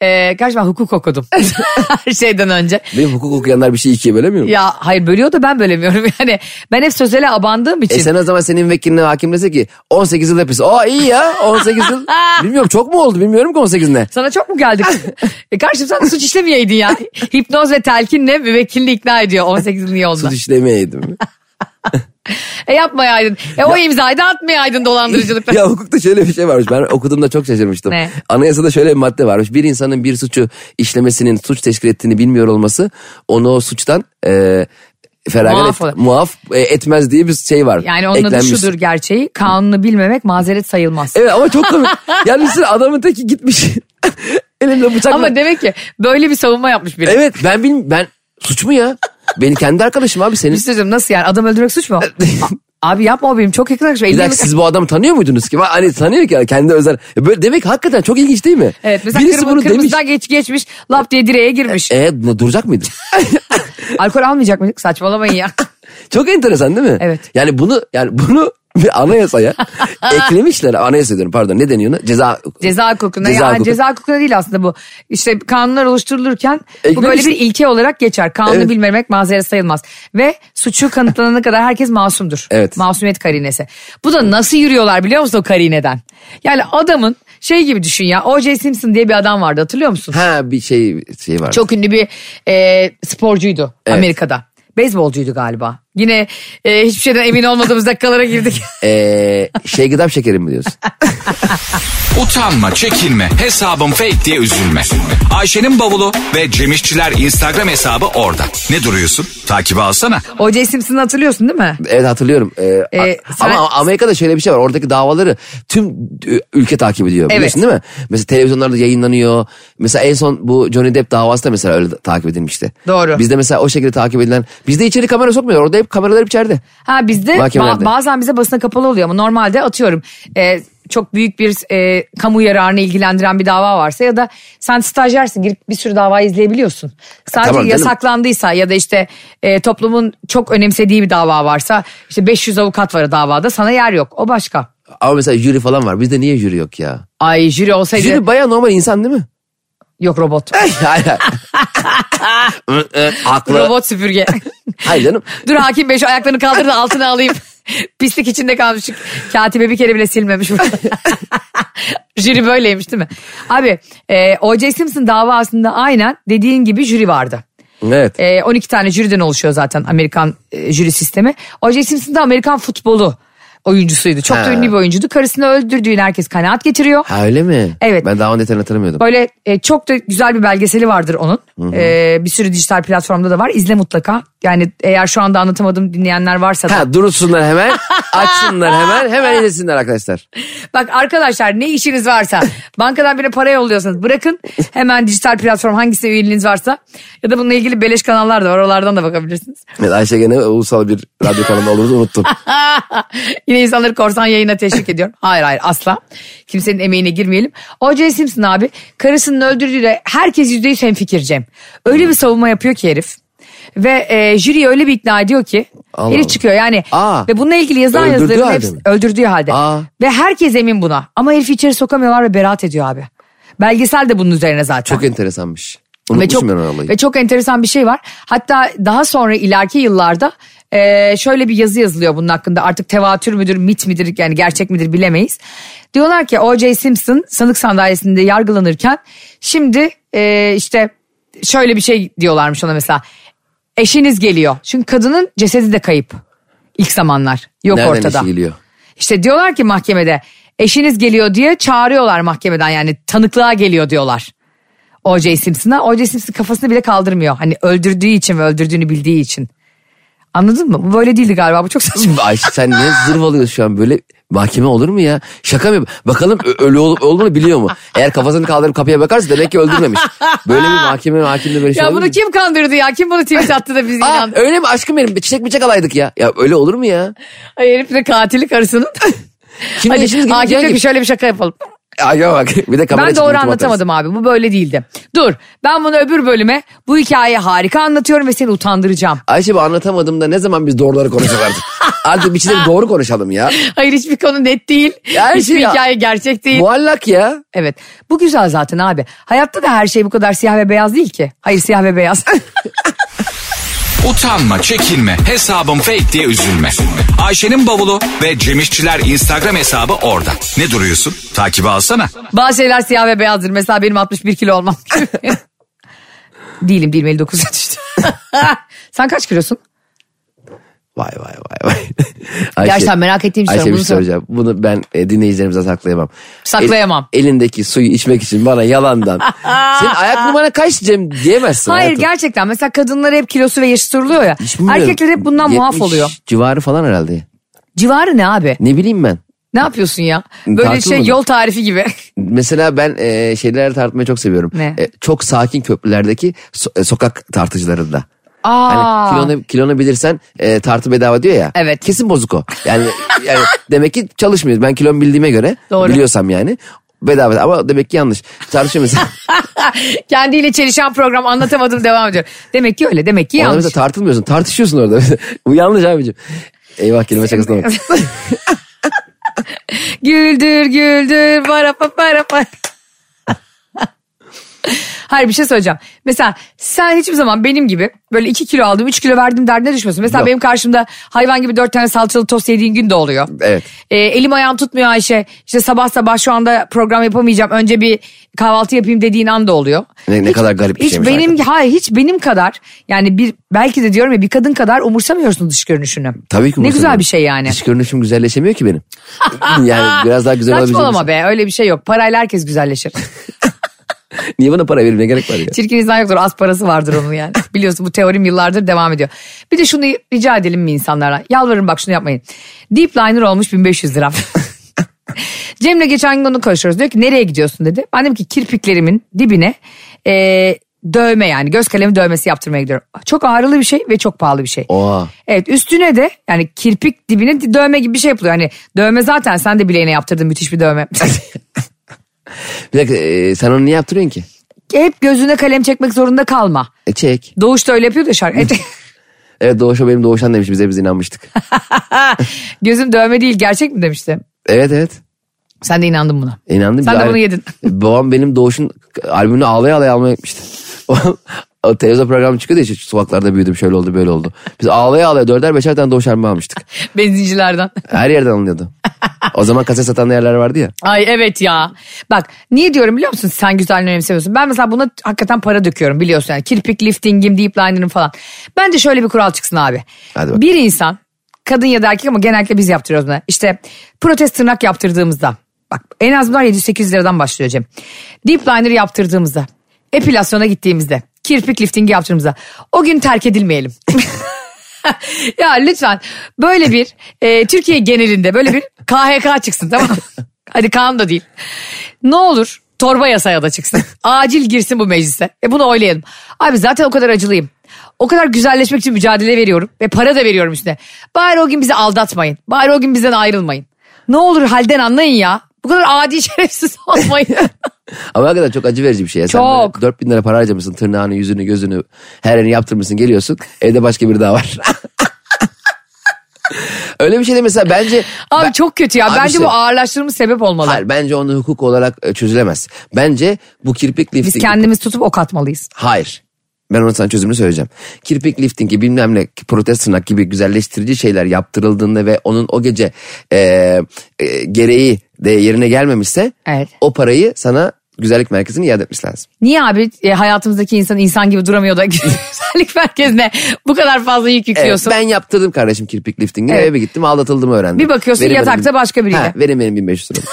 [SPEAKER 2] Ee, kaç ben hukuk okudum. Her şeyden önce.
[SPEAKER 3] Benim hukuk okuyanlar bir şeyi ikiye bölemiyor mu?
[SPEAKER 2] Ya hayır bölüyor da ben bölemiyorum yani. Ben hep sözele abandığım için.
[SPEAKER 3] E sen o zaman senin vekiline hakim dese ki 18 yıl hapis. Aa iyi ya 18 yıl. Bilmiyorum çok mu oldu bilmiyorum ki 18 ne.
[SPEAKER 2] Sana çok mu geldik? e karşım sen de suç işlemeyeydin ya. Hipnoz ve telkinle müvekkilini ikna ediyor 18 yıl yolda.
[SPEAKER 3] Tut işlemeyeydim.
[SPEAKER 2] E yapmayaydın. E o imzayı da atmayaydın dolandırıcılıkla.
[SPEAKER 3] ya hukukta şöyle bir şey varmış. Ben okuduğumda çok şaşırmıştım.
[SPEAKER 2] Ne?
[SPEAKER 3] Anayasada şöyle bir madde varmış. Bir insanın bir suçu işlemesinin suç teşkil ettiğini bilmiyor olması onu o suçtan e, feragat
[SPEAKER 2] Muaf
[SPEAKER 3] et,
[SPEAKER 2] olur.
[SPEAKER 3] muaf e, etmez diye bir şey var.
[SPEAKER 2] Yani onun adı
[SPEAKER 3] Eklenmiş.
[SPEAKER 2] şudur gerçeği. Kanunu bilmemek mazeret sayılmaz.
[SPEAKER 3] Evet ama çok komik. yani mesela adamın teki gitmiş. Elimde bıçakla.
[SPEAKER 2] Ama demek ki böyle bir savunma yapmış biri.
[SPEAKER 3] Evet ben bilmiyorum. Ben suç mu ya? Benim kendi arkadaşım abi senin.
[SPEAKER 2] Bir şey söyleyeceğim, nasıl yani adam öldürmek suç mu? A- Abi yapma o benim çok yakın arkadaşım.
[SPEAKER 3] Bir
[SPEAKER 2] 50
[SPEAKER 3] dakika
[SPEAKER 2] yıllık-
[SPEAKER 3] siz bu adamı tanıyor muydunuz ki? Hani tanıyor ki yani kendi özel. E, Böyle demek ki hakikaten çok ilginç değil mi?
[SPEAKER 2] Evet mesela
[SPEAKER 3] Birisi
[SPEAKER 2] kırmızı,
[SPEAKER 3] bunu demiş.
[SPEAKER 2] kırmızıdan geç, geçmiş lap diye direğe girmiş.
[SPEAKER 3] E, ne, duracak mıydı?
[SPEAKER 2] Alkol almayacak mıydık? Saçmalamayın ya.
[SPEAKER 3] çok enteresan değil mi?
[SPEAKER 2] Evet.
[SPEAKER 3] Yani bunu yani bunu bir anayasaya eklemişler. Anayasa diyorum pardon ne deniyor? ona? Ceza
[SPEAKER 2] Ceza hukukuna.
[SPEAKER 3] Ceza
[SPEAKER 2] yani
[SPEAKER 3] hukuku.
[SPEAKER 2] ceza hukukuna değil aslında bu. İşte kanunlar oluşturulurken bu
[SPEAKER 3] Eklemiş-
[SPEAKER 2] böyle bir ilke olarak geçer. Kanunu
[SPEAKER 3] Evet.
[SPEAKER 2] bilmemek mazeret sayılmaz. Ve suçu kanıtlanana kadar herkes masumdur.
[SPEAKER 3] Evet.
[SPEAKER 2] Masumiyet karinesi. Bu da nasıl yürüyorlar biliyor musun o karineden? Yani adamın şey gibi düşün ya. O.J. Simpson diye bir adam vardı hatırlıyor musun?
[SPEAKER 3] Ha bir şey şey var.
[SPEAKER 2] Çok ünlü bir e, sporcuydu Amerika'da. Beyzbolcuydu galiba. Yine e, hiçbir şeyden emin olmadığımız dakikalara girdik.
[SPEAKER 3] Ee, şey gıdap şekerim mi diyorsun?
[SPEAKER 1] Utanma, çekinme, hesabım fake diye üzülme. Ayşe'nin bavulu ve Cemişçiler Instagram hesabı orada. Ne duruyorsun? Takibi alsana.
[SPEAKER 2] O.J. Simpson'ı hatırlıyorsun değil mi?
[SPEAKER 3] Evet hatırlıyorum. Ee,
[SPEAKER 2] Ee,
[SPEAKER 3] a-
[SPEAKER 2] sen-
[SPEAKER 3] Ama Amerika'da şöyle bir şey var. Oradaki davaları tüm e, ülke takip ediyor.
[SPEAKER 2] Evet.
[SPEAKER 3] Biliyorsun değil mi? Mesela televizyonlarda yayınlanıyor. Mesela en son bu Johnny Depp davası da mesela öyle takip edilmişti.
[SPEAKER 2] Doğru.
[SPEAKER 3] Bizde mesela o şekilde takip edilen. Bizde içeri kamera sokmuyorlar. Orada hep kameralar hep içeride.
[SPEAKER 2] Ha bizde
[SPEAKER 3] Mahkemelerde.
[SPEAKER 2] ba- bazen bize basına kapalı oluyor ama normalde atıyorum e, çok büyük bir e, kamu yararını ilgilendiren bir dava varsa ya da sen stajyersin girip bir sürü davayı izleyebiliyorsun. Sadece
[SPEAKER 3] Tamam canım.
[SPEAKER 2] yasaklandıysa ya da işte e, toplumun çok önemsediği bir dava varsa işte 500 avukat var davada sana yer yok o başka.
[SPEAKER 3] Ama mesela jüri falan var. Bizde niye jüri yok ya?
[SPEAKER 2] Ay jüri olsaydı
[SPEAKER 3] Jüri baya normal insan değil mi?
[SPEAKER 2] yok robot.
[SPEAKER 3] Hayır, hayır. Hı, hı, Haklı.
[SPEAKER 2] robot süpürge.
[SPEAKER 3] Hayır canım.
[SPEAKER 2] Dur hakim bey şu ayaklarını kaldır da altına alayım. Pislik içinde kalmış. Şu Katibe bir kere bile silmemiş. jüri böyleymiş değil mi? Abi e, O.J. Simpson davasında aynen dediğin gibi jüri vardı.
[SPEAKER 3] Evet.
[SPEAKER 2] E, 12 tane jüriden oluşuyor zaten Amerikan e, jüri sistemi. O.J. Simpson da Amerikan futbolu oyuncusuydu. Çok
[SPEAKER 3] Ha.
[SPEAKER 2] da ünlü bir oyuncuydu. Karısını öldürdüğün herkes kanaat getiriyor.
[SPEAKER 3] Ha öyle mi?
[SPEAKER 2] Evet.
[SPEAKER 3] Ben davanın detayını hatırlamıyordum.
[SPEAKER 2] Böyle e, çok da güzel bir belgeseli vardır onun. E, bir sürü dijital platformda da var. İzle mutlaka. Yani eğer şu anda anlatamadım dinleyenler varsa da.
[SPEAKER 3] Ha durursunlar hemen. Açsınlar hemen. Hemen izlesinler arkadaşlar.
[SPEAKER 2] Bak arkadaşlar ne işiniz varsa bankadan birine para yolluyorsanız bırakın hemen dijital platform hangisi üyeliğiniz varsa ya da bununla ilgili beleş kanallar da var oralardan da bakabilirsiniz.
[SPEAKER 3] Evet Ayşe gene ulusal bir radyo kanalı olduğumuzu unuttum.
[SPEAKER 2] Yine insanları korsan yayına teşvik ediyorum. Hayır hayır asla. Kimsenin emeğine girmeyelim. O.J. Simpson abi karısının öldürdüğüyle herkes yüzde yüz hemfikir Cem. Öyle bir savunma yapıyor ki herif. Ve e, jüriyi öyle bir ikna ediyor ki
[SPEAKER 3] Allah
[SPEAKER 2] herif
[SPEAKER 3] Allah.
[SPEAKER 2] çıkıyor yani.
[SPEAKER 3] Aa.
[SPEAKER 2] ve bununla ilgili yazılan
[SPEAKER 3] Öldürdüğü
[SPEAKER 2] yazıların
[SPEAKER 3] halde
[SPEAKER 2] hepsi
[SPEAKER 3] mi?
[SPEAKER 2] öldürdüğü halde.
[SPEAKER 3] Aa.
[SPEAKER 2] Ve herkes emin buna. Ama herifi içeri sokamıyorlar ve beraat ediyor abi. Belgesel de bunun üzerine zaten.
[SPEAKER 3] Çok enteresanmış.
[SPEAKER 2] Ve çok,
[SPEAKER 3] Unutmuşum ben o olayı.
[SPEAKER 2] ve çok enteresan bir şey var. Hatta daha sonra ileriki yıllarda e, şöyle bir yazı yazılıyor bunun hakkında. Artık tevatür müdür, mit midir yani gerçek midir bilemeyiz. Diyorlar ki O.J. Simpson sanık sandalyesinde yargılanırken şimdi e, işte şöyle bir şey diyorlarmış ona mesela. Eşiniz geliyor. Çünkü kadının cesedi de kayıp ilk zamanlar. Yok
[SPEAKER 3] Nereden
[SPEAKER 2] ortada.
[SPEAKER 3] işi geliyor?
[SPEAKER 2] İşte diyorlar ki mahkemede eşiniz geliyor diye çağırıyorlar mahkemeden yani tanıklığa geliyor diyorlar. O.J. Simpson'a. O.J. Simpson kafasını bile kaldırmıyor. Hani öldürdüğü için ve öldürdüğünü bildiği için. Anladın mı? Bu böyle değildi galiba. Bu çok saçma.
[SPEAKER 3] Şimdi Ayşe sen ne zırvalıyorsun şu an böyle mahkeme olur mu ya? Şaka mı? yap- Bakalım ö- ölü olup olmadığını biliyor mu? Eğer kafasını kaldırıp kapıya bakarsa demek ki öldürmemiş. Böyle bir mahkeme mahkemede böyle şey
[SPEAKER 2] ya
[SPEAKER 3] olur
[SPEAKER 2] bunu
[SPEAKER 3] mu?
[SPEAKER 2] kim kandırdı ya? Kim bunu tweet attı da biz
[SPEAKER 3] Aa,
[SPEAKER 2] inandık?
[SPEAKER 3] öyle mi aşkım benim? Bir Çiçek mi alaydık ya? Ya öyle olur mu ya?
[SPEAKER 2] Ay herif de katili karısının.
[SPEAKER 3] Şimdi
[SPEAKER 2] Hadi
[SPEAKER 3] eşiniz geliyor
[SPEAKER 2] hakim diyor
[SPEAKER 3] diyor
[SPEAKER 2] ki
[SPEAKER 3] ki-
[SPEAKER 2] şöyle bir şaka yapalım.
[SPEAKER 3] Ay ya bak bir de kamera
[SPEAKER 2] Ben doğru anlatamadım abi. Bu böyle değildi. Dur ben bunu öbür bölüme bu hikayeyi harika anlatıyorum ve seni utandıracağım.
[SPEAKER 3] Ayşe bu anlatamadım da ne zaman biz doğruları konuşacağız artık? artık bir şeyleri doğru konuşalım ya.
[SPEAKER 2] Hayır hiçbir konu net değil.
[SPEAKER 3] Ya her
[SPEAKER 2] hiçbir
[SPEAKER 3] şey ya-
[SPEAKER 2] hikaye gerçek değil.
[SPEAKER 3] Muallak ya.
[SPEAKER 2] Evet. Bu güzel zaten abi. Hayatta da her şey bu kadar siyah ve beyaz değil ki. Hayır siyah ve beyaz.
[SPEAKER 1] Utanma, çekinme, hesabım fake diye üzülme. Ayşe'nin bavulu ve Cemişçiler Instagram hesabı orada. Ne duruyorsun? Takibi alsana.
[SPEAKER 2] Bazı şeyler siyah ve beyazdır. Mesela benim 61 kilo olmam. Değilim değilim 59'a düştü. Sen kaç kilosun?
[SPEAKER 3] Vay vay vay vay. Ayşe,
[SPEAKER 2] Gerçekten merak ettiğim bir
[SPEAKER 3] Ayşe
[SPEAKER 2] soru.
[SPEAKER 3] bir
[SPEAKER 2] Bunu
[SPEAKER 3] şey
[SPEAKER 2] sor-
[SPEAKER 3] soracağım. Bunu ben e, dinleyicilerimize saklayamam.
[SPEAKER 2] Saklayamam.
[SPEAKER 3] El- elindeki suyu içmek için bana yalandan. Senin ayak numara kaç Cem diyemezsin
[SPEAKER 2] Hayır
[SPEAKER 3] hayatım.
[SPEAKER 2] gerçekten. Mesela kadınlar hep kilosu ve yaşı soruluyor ya.
[SPEAKER 3] Hiç bilmiyorum.
[SPEAKER 2] Erkekler hep bundan muaf
[SPEAKER 3] 70
[SPEAKER 2] oluyor.
[SPEAKER 3] civarı falan herhalde.
[SPEAKER 2] Civarı ne abi?
[SPEAKER 3] Ne bileyim ben.
[SPEAKER 2] Ne yapıyorsun ya? Böyle şey
[SPEAKER 3] Tartılmadı.
[SPEAKER 2] yol tarifi gibi.
[SPEAKER 3] Mesela ben e, şeyleri tartmayı çok seviyorum.
[SPEAKER 2] Ne?
[SPEAKER 3] E, çok sakin köprülerdeki so- e, sokak tartıcılarında.
[SPEAKER 2] Aa.
[SPEAKER 3] Hani kilonu, kilonu bilirsen e, tartı bedava diyor ya.
[SPEAKER 2] Evet.
[SPEAKER 3] Kesin bozuk o. Yani, yani demek ki çalışmıyor. Ben kilomu bildiğime göre
[SPEAKER 2] Doğru.
[SPEAKER 3] biliyorsam yani bedava ama demek ki yanlış. Tartışıyor mesela.
[SPEAKER 2] Kendiyle çelişen program anlatamadım devam ediyor. Demek ki öyle demek ki
[SPEAKER 3] Orada
[SPEAKER 2] yanlış.
[SPEAKER 3] mesela tartılmıyorsun. Tartışıyorsun orada. Bu yanlış abicim. Eyvah kelime şakasına bak.
[SPEAKER 2] Güldür güldür para pa para pa. Hayır bir şey söyleyeceğim. Mesela sen hiçbir zaman benim gibi böyle 2 kilo aldım 3 kilo verdim derdine düşmüyorsun. Mesela
[SPEAKER 3] Yok.
[SPEAKER 2] benim karşımda hayvan gibi 4 tane salçalı tost yediğin gün de oluyor.
[SPEAKER 3] Evet.
[SPEAKER 2] Ee, elim ayağım tutmuyor Ayşe. İşte sabah sabah şu anda program yapamayacağım. Önce bir kahvaltı yapayım dediğin anda oluyor.
[SPEAKER 3] Ne- ne kadar garip bir
[SPEAKER 2] hiç
[SPEAKER 3] şeymiş
[SPEAKER 2] benim,
[SPEAKER 3] hakikaten.
[SPEAKER 2] Hayır hiç benim kadar yani bir belki de diyorum ya bir kadın kadar umursamıyorsun dış görünüşünü.
[SPEAKER 3] Tabii
[SPEAKER 2] Ne
[SPEAKER 3] ki umursamıyorum.
[SPEAKER 2] güzel bir şey yani.
[SPEAKER 3] Dış görünüşüm güzelleşemiyor ki benim. yani biraz daha güzel olabilecek.
[SPEAKER 2] Saçmalama
[SPEAKER 3] misin?
[SPEAKER 2] be öyle bir şey yok. Parayla herkes güzelleşir.
[SPEAKER 3] Niye bana para verir ne gerek var ya?
[SPEAKER 2] Çirkin insan yoktur az parası vardır onun yani. Biliyorsun bu teorim yıllardır devam ediyor. Bir de şunu rica edelim mi insanlara? Yalvarırım bak şunu yapmayın. Deep liner olmuş 1500 lira. Cem'le geçen gün onu konuşuyoruz. Diyor ki nereye gidiyorsun dedi. Ben dedim ki kirpiklerimin dibine eee, dövme yani göz kalemi dövmesi yaptırmaya gidiyorum. Çok ağrılı bir şey ve çok pahalı bir şey.
[SPEAKER 3] Oha.
[SPEAKER 2] Evet üstüne de yani kirpik dibine dövme gibi bir şey yapılıyor. Hani dövme zaten sen de bileğine yaptırdın müthiş bir dövme.
[SPEAKER 3] Bir dakika e, sen onu niye yaptırıyorsun ki?
[SPEAKER 2] Hep gözüne kalem çekmek zorunda kalma.
[SPEAKER 3] E çek.
[SPEAKER 2] Doğuş da öyle yapıyor da şarkı. Evet.
[SPEAKER 3] Evet Doğuş'a benim Doğuşan demiş bize biz inanmıştık.
[SPEAKER 2] Gözüm dövme değil gerçek mi demişti.
[SPEAKER 3] evet evet.
[SPEAKER 2] Sen de inandın buna.
[SPEAKER 3] İnandım.
[SPEAKER 2] Sen
[SPEAKER 3] Bir
[SPEAKER 2] de
[SPEAKER 3] ara-
[SPEAKER 2] bunu yedin.
[SPEAKER 3] Babam benim Doğuş'un albümünü ağlaya ağlaya almaya gitmişti. O televizyon programı çıkıyordu ya işte sokaklarda büyüdüm şöyle oldu böyle oldu. Biz ağlaya ağlaya dörder beşer tane Doğuş albümü almıştık.
[SPEAKER 2] Benzincilerden.
[SPEAKER 3] Her yerden alınıyordu. O zaman kaset satan yerler vardı ya.
[SPEAKER 2] Ay evet ya. Bak niye diyorum biliyor musun sen güzelliğini önemsemiyorsun. Ben mesela buna hakikaten para döküyorum biliyorsun yani. Kirpik liftingim, deep liner'ım falan. Bence şöyle bir kural çıksın abi.
[SPEAKER 3] Hadi bakalım.
[SPEAKER 2] Bir insan kadın ya da erkek ama genellikle biz yaptırıyoruz bunu. İşte protest tırnak yaptırdığımızda. Bak en az bunlar 700-800 liradan başlıyor Cem. Deep liner yaptırdığımızda. Epilasyona gittiğimizde. Kirpik liftingi yaptırdığımızda. O gün terk edilmeyelim. ya lütfen böyle bir e, Türkiye genelinde böyle bir KHK çıksın tamam mı? Hadi Kaan da değil. Ne olur torba yasaya da çıksın. Acil girsin bu meclise. E bunu oylayalım. Abi zaten o kadar acılıyım. O kadar güzelleşmek için mücadele veriyorum ve para da veriyorum üstüne. Bari o gün bizi aldatmayın. Bari o gün bizden ayrılmayın. Ne olur halden anlayın ya. Bu kadar adi şerefsiz olmayın.
[SPEAKER 3] Ama hakikaten çok acı verici bir şey. Ya. Sen
[SPEAKER 2] Çok.
[SPEAKER 3] böyle 4000 lira para harcamışsın tırnağını yüzünü gözünü her yerini yaptırmışsın geliyorsun evde başka biri daha var. Öyle bir şey de mesela bence
[SPEAKER 2] Abi çok kötü ya.
[SPEAKER 3] Abi
[SPEAKER 2] Bence
[SPEAKER 3] işte-
[SPEAKER 2] bu ağırlaştırılmış sebep olmalı.
[SPEAKER 3] Hayır bence onu hukuk olarak e, çözülemez. Bence bu kirpik lifting...
[SPEAKER 2] Biz kendimiz tutup ok atmalıyız.
[SPEAKER 3] Hayır. Ben onun sana çözümünü söyleyeceğim. Kirpik liftingi bilmem ne protest tırnak gibi güzelleştirici şeyler yaptırıldığında ve onun o gece e, e, gereği de yerine gelmemişse
[SPEAKER 2] Evet.
[SPEAKER 3] o parayı sana güzellik merkezine iade etmesi lazım.
[SPEAKER 2] Niye abi e, hayatımızdaki insan insan gibi duramıyor da güzellik merkezine bu kadar fazla yük
[SPEAKER 3] Evet,
[SPEAKER 2] yüklüyorsun?
[SPEAKER 3] ben yaptırdım kardeşim kirpik liftingi
[SPEAKER 2] Evet.
[SPEAKER 3] eve gittim aldatıldığımı öğrendim.
[SPEAKER 2] Bir bakıyorsun yatakta başka biriyle.
[SPEAKER 3] Ha, verin benim 1500 lira.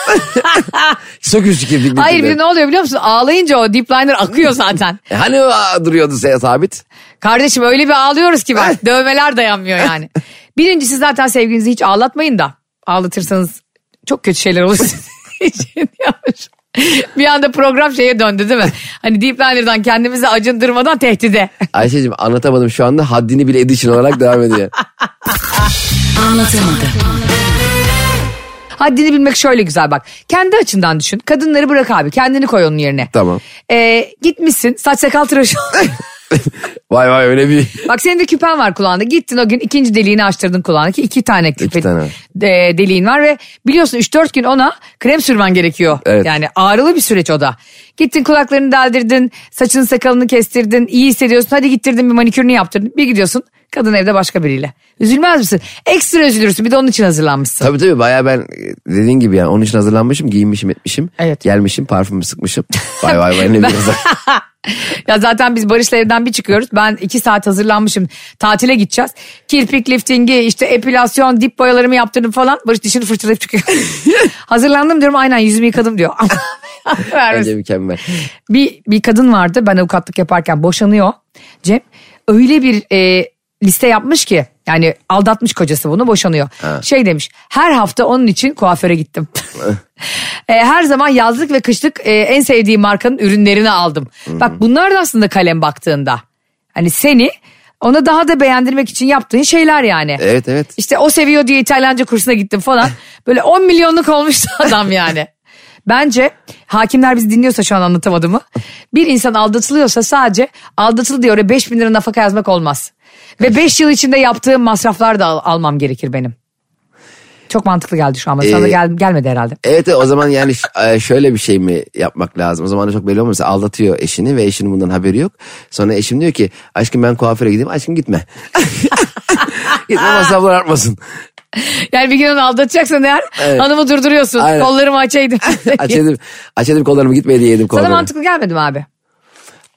[SPEAKER 3] Söküş kirpik liftingi.
[SPEAKER 2] Hayır bir de ne oluyor biliyor musun? Ağlayınca o deep liner akıyor zaten.
[SPEAKER 3] E, Hani o, aa, duruyordu se- sabit?
[SPEAKER 2] Kardeşim öyle bir ağlıyoruz ki bak dövmeler dayanmıyor yani. Birincisi zaten sevginizi hiç ağlatmayın da ağlatırsanız çok kötü şeyler olur. için yapmış. bir anda program şeye döndü değil mi? Hani deep liner'dan kendimizi acındırmadan tehdide.
[SPEAKER 3] Ayşe'cim anlatamadım şu anda haddini bile edişin olarak devam ediyor.
[SPEAKER 2] Haddini bilmek şöyle güzel bak. Kendi açından düşün. Kadınları bırak abi. Kendini koy onun yerine.
[SPEAKER 3] Tamam.
[SPEAKER 2] Ee, gitmişsin saç sakal tıraşı.
[SPEAKER 3] Vay vay öyle bir.
[SPEAKER 2] bak senin de küpen var kulağında. Gittin o gün ikinci deliğini açtırdın kulağına ki iki tane küpe
[SPEAKER 3] tane var.
[SPEAKER 2] de- deliğin var ve biliyorsun 3-4 gün ona krem sürmen gerekiyor.
[SPEAKER 3] Evet.
[SPEAKER 2] Yani ağrılı bir süreç o da. Gittin kulaklarını deldirdin, saçını sakalını kestirdin, iyi hissediyorsun. Hadi gittirdin bir manikürünü yaptırdın. Bir gidiyorsun kadın evde başka biriyle. Üzülmez misin? Ekstra üzülürsün bir de onun için hazırlanmışsın.
[SPEAKER 3] Tabii tabii bayağı ben e, dediğin gibi yani onun için hazırlanmışım, giyinmişim, etmişim.
[SPEAKER 2] Evet.
[SPEAKER 3] Gelmişim, parfümü sıkmışım. Vay vay vay ne
[SPEAKER 2] Ben-
[SPEAKER 3] bileyim.
[SPEAKER 2] ya zaten biz Barış'la evden bir çıkıyoruz. Ben iki saat hazırlanmışım. Tatile gideceğiz. Kirpik liftingi, işte epilasyon, dip boyalarımı yaptırdım falan. Barış dişini fırçalayıp çıkıyor. Hazırlandım diyorum aynen yüzümü yıkadım diyor. Vermesin.
[SPEAKER 3] Bence mükemmel.
[SPEAKER 2] Bir, bir kadın vardı ben avukatlık yaparken boşanıyor Cem. Öyle bir e, liste yapmış ki yani aldatmış kocası bunu boşanıyor. Şey demiş her hafta onun için kuaföre gittim. E, her zaman yazlık ve kışlık e, en sevdiği markanın ürünlerini aldım. Bak bunlar da aslında kalem baktığında. Hani seni ona daha da beğendirmek için yaptığın şeyler yani.
[SPEAKER 3] Evet evet.
[SPEAKER 2] İşte o seviyor diye İtalyanca kursuna gittim falan. Böyle 10 milyonluk olmuştu adam yani. Bence hakimler bizi dinliyorsa şu an anlatamadığımı. Bir insan aldatılıyorsa sadece aldatıldı diye oraya 5 bin lira nafaka yazmak olmaz. Ve 5 yıl içinde yaptığım masraflar da al- almam gerekir benim. Çok mantıklı geldi şu an. Sana da
[SPEAKER 3] Ee,
[SPEAKER 2] gel, gelmedi herhalde.
[SPEAKER 3] Evet o zaman yani ş- e, şöyle bir şey mi yapmak lazım? O zaman da çok belli olmuyor. Mesela aldatıyor eşini ve eşinin bundan haberi yok. Sonra eşim diyor ki aşkım ben kuaföre gideyim. Aşkım gitme. gitme masraflar artmasın.
[SPEAKER 2] Yani bir gün onu aldatacaksan eğer
[SPEAKER 3] Evet.
[SPEAKER 2] hanımı durduruyorsun.
[SPEAKER 3] Aynen.
[SPEAKER 2] Kollarımı açaydım.
[SPEAKER 3] Açaydım, açaydım kollarımı gitmeye diye yedim
[SPEAKER 2] Sana
[SPEAKER 3] kuaföre.
[SPEAKER 2] mantıklı gelmedim abi.